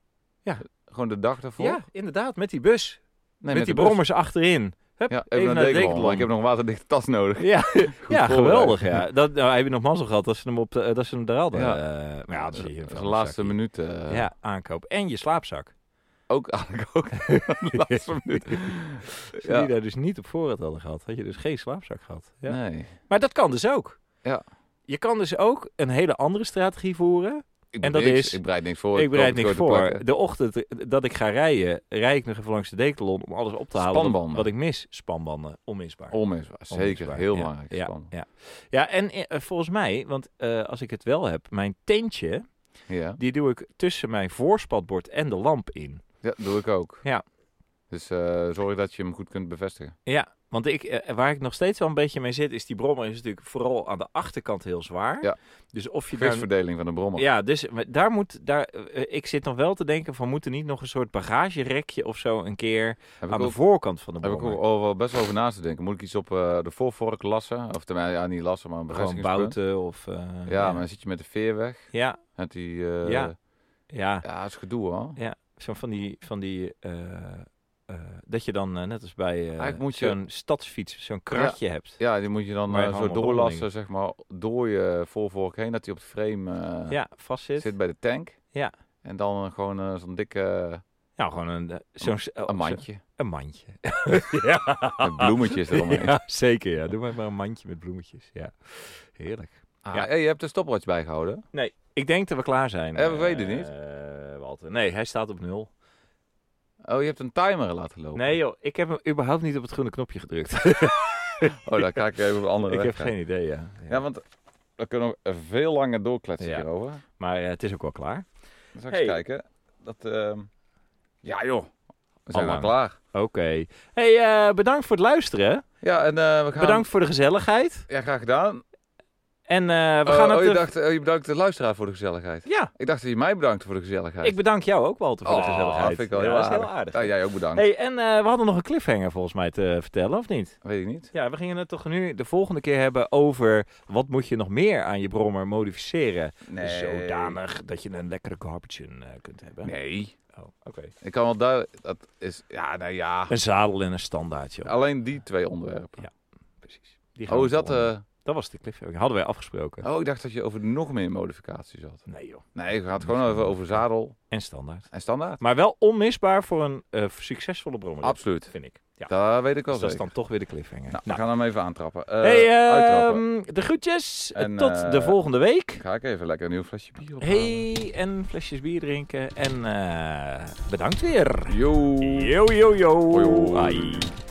A: Ja.
B: Gewoon de dag daarvoor?
A: Ja, inderdaad, met die bus.
B: Nee,
A: met, die
B: de bus.
A: brommers achterin. Hup,
B: Ja, even, naar de Decathlon. want Ik
A: Decathlon.
B: heb nog een waterdichte tas nodig.
A: Ja, ja
B: voorbereid.
A: geweldig. Ja. Dat, nou, heb je nog mazzel gehad dat ze hem, op, de- eh, dat ze hem er hadden.
B: Ja.
A: Ja. maar ja, dat is hier
B: de
A: een
B: laatste
A: zakje.
B: minuut. eh,
A: Ja, aankoop. En je slaapzak.
B: Ook eigenlijk ook. de laatste minuut.
A: Als je
B: Ja.
A: die daar dus niet op voorraad hadden gehad, had je dus geen slaapzak gehad. Ja.
B: Nee.
A: Maar dat kan dus ook.
B: Ja.
A: Je kan dus ook een hele andere strategie voeren.
B: Ik
A: En
B: doe
A: dat
B: niks,
A: is-
B: Ik bereid niks voor.
A: ik bereid
B: koop
A: niks
B: het
A: voor.
B: grote plakken.
A: De ochtend dat ik ga rijden, rij ik nog even langs de Decathlon om alles op te halen. wat-
B: Spanbanden.
A: Wat ik mis, spanbanden, onmisbaar.
B: Onmisbaar. Zeker.
A: Onmisbaar,
B: Heel
A: ja.
B: belangrijk.
A: Ja.
B: Spannend.
A: Ja, en eh, volgens mij, want eh, als ik het wel heb, mijn tentje,
B: Ja.
A: die doe ik tussen mijn voorspatbord en de lamp in.
B: ja, doe ik ook.
A: Ja.
B: Dus eh, zorg dat je hem goed kunt bevestigen.
A: Ja, want ik, eh, waar ik nog steeds wel een beetje mee zit, is die brommer is natuurlijk vooral aan de achterkant heel zwaar.
B: Ja.
A: Dus of je daar...
B: Gewichtverdeling van de brommer.
A: Ja, dus maar daar moet, daar, eh, ik zit nog wel te denken van, moet er niet nog een soort bagagerekje of zo een keer
B: Heb ik
A: aan de
B: ook-
A: voorkant van de
B: Daar heb ik
A: brommer?
B: ook al wel best wel over na te denken. Moet ik iets op eh, de voorvork lassen? Of tenminste, ja, niet lassen, maar een
A: Gewoon
B: bevestigingspunt.
A: bouten of... eh,
B: Ja, maar dan zit je met de veer weg.
A: ja,
B: Met die, eh,
A: Ja.
B: ja.
A: ja,
B: dat is gedoe hoor.
A: Zo van die, van die eh, eh, eh, dat je dan, eh, net als bij eh
B: Eigenlijk moet je-
A: zo'n stadsfiets, zo'n kratje hebt.
B: Ja, die moet je dan
A: Maar
B: eh,
A: gewoon
B: zo
A: wat
B: doorlassen,
A: handelingen.
B: zeg maar, door je voorvork heen, dat hij op het frame eh,
A: Ja, vast zit.
B: zit bij de tank.
A: Ja.
B: En dan eh, gewoon eh, zo'n dikke
A: Nou, gewoon een, eh, zo'n, oh,
B: een mandje.
A: zo- een mandje. ja.
B: Met bloemetjes eromheen.
A: Ja, zeker. Ja. Doe maar, maar een mandje met bloemetjes. Ja. Heerlijk.
B: Ah,
A: Ja.
B: hey, je hebt de stopwatch bijgehouden.
A: Ik denk dat we klaar zijn.
B: Eh, we weten het niet.
A: eh, Walter. Nee, hij staat op nul.
B: Oh, je hebt een timer laten lopen.
A: Nee joh, ik heb hem überhaupt niet op het groene knopje gedrukt.
B: Oh, daar kijk ik even op een andere
A: ik heb
B: weg gaan.
A: geen idee, ja. Ja.
B: Ja, want we kunnen nog veel langer doorkletsen
A: Ja.
B: hierover.
A: Maar eh, het is ook wel klaar.
B: Dan zal ik
A: Hey.
B: eens kijken. Dat, ehm, Ja joh, we zijn al
A: Allang.
B: klaar.
A: Oké. Hey, eh, bedankt voor het luisteren.
B: Ja, en eh, we gaan...
A: Bedankt voor de gezelligheid.
B: Ja, graag gedaan.
A: En eh, we
B: Oh,
A: gaan
B: oh,
A: het...
B: je,
A: eh,
B: dacht, oh, je bedankt de luisteraar voor de gezelligheid.
A: Ja,
B: Ik dacht dat je mij bedankte voor de gezelligheid.
A: ik bedank jou ook Walter voor de
B: Oh,
A: gezelligheid.
B: vind ik wel
A: ja,
B: heel
A: dat is heel
B: aardig.
A: aardig.
B: Ja, jij ook bedankt.
A: Hey, en eh, we hadden nog een cliffhanger volgens mij te vertellen, of niet?
B: Weet ik niet.
A: Ja, we gingen het toch nu de volgende keer hebben over wat moet je nog meer aan je brommer modificeren. Zodanig dat je een lekkere garbage in eh, kunt hebben.
B: Nee.
A: Oh, oké.
B: Ik kan wel duidelijk... Dat is... Ja, nou ja.
A: Een zadel en een standaard, joh.
B: Alleen die twee onderwerpen.
A: Ja, Precies. Die gaan
B: oh,
A: we
B: is dat...
A: volgende-
B: eh,
A: Dat was de cliffhanger. Hadden wij afgesproken.
B: Oh, ik dacht dat je over nog meer modificaties had.
A: Nee, joh.
B: Nee, we gaan het gewoon even over zadel
A: En standaard.
B: en standaard.
A: Maar wel onmisbaar voor een eh, succesvolle brommer.
B: Absoluut.
A: vind ik. Ja.
B: Daar weet ik wel
A: Dus dat is
B: zeker.
A: dan toch weer de cliffhanger.
B: Nou, we
A: Nou.
B: gaan hem even aantrappen. Eh,
A: Hey, eh,
B: uittrappen.
A: de groetjes.
B: En,
A: Tot
B: eh,
A: de volgende week.
B: Ga ik even lekker een nieuw flesje bier op.
A: Hey, en flesjes bier drinken. En eh, bedankt weer.
B: Yo.
A: Yo, yo, yo.
B: Hoi, hoi.
A: Ai.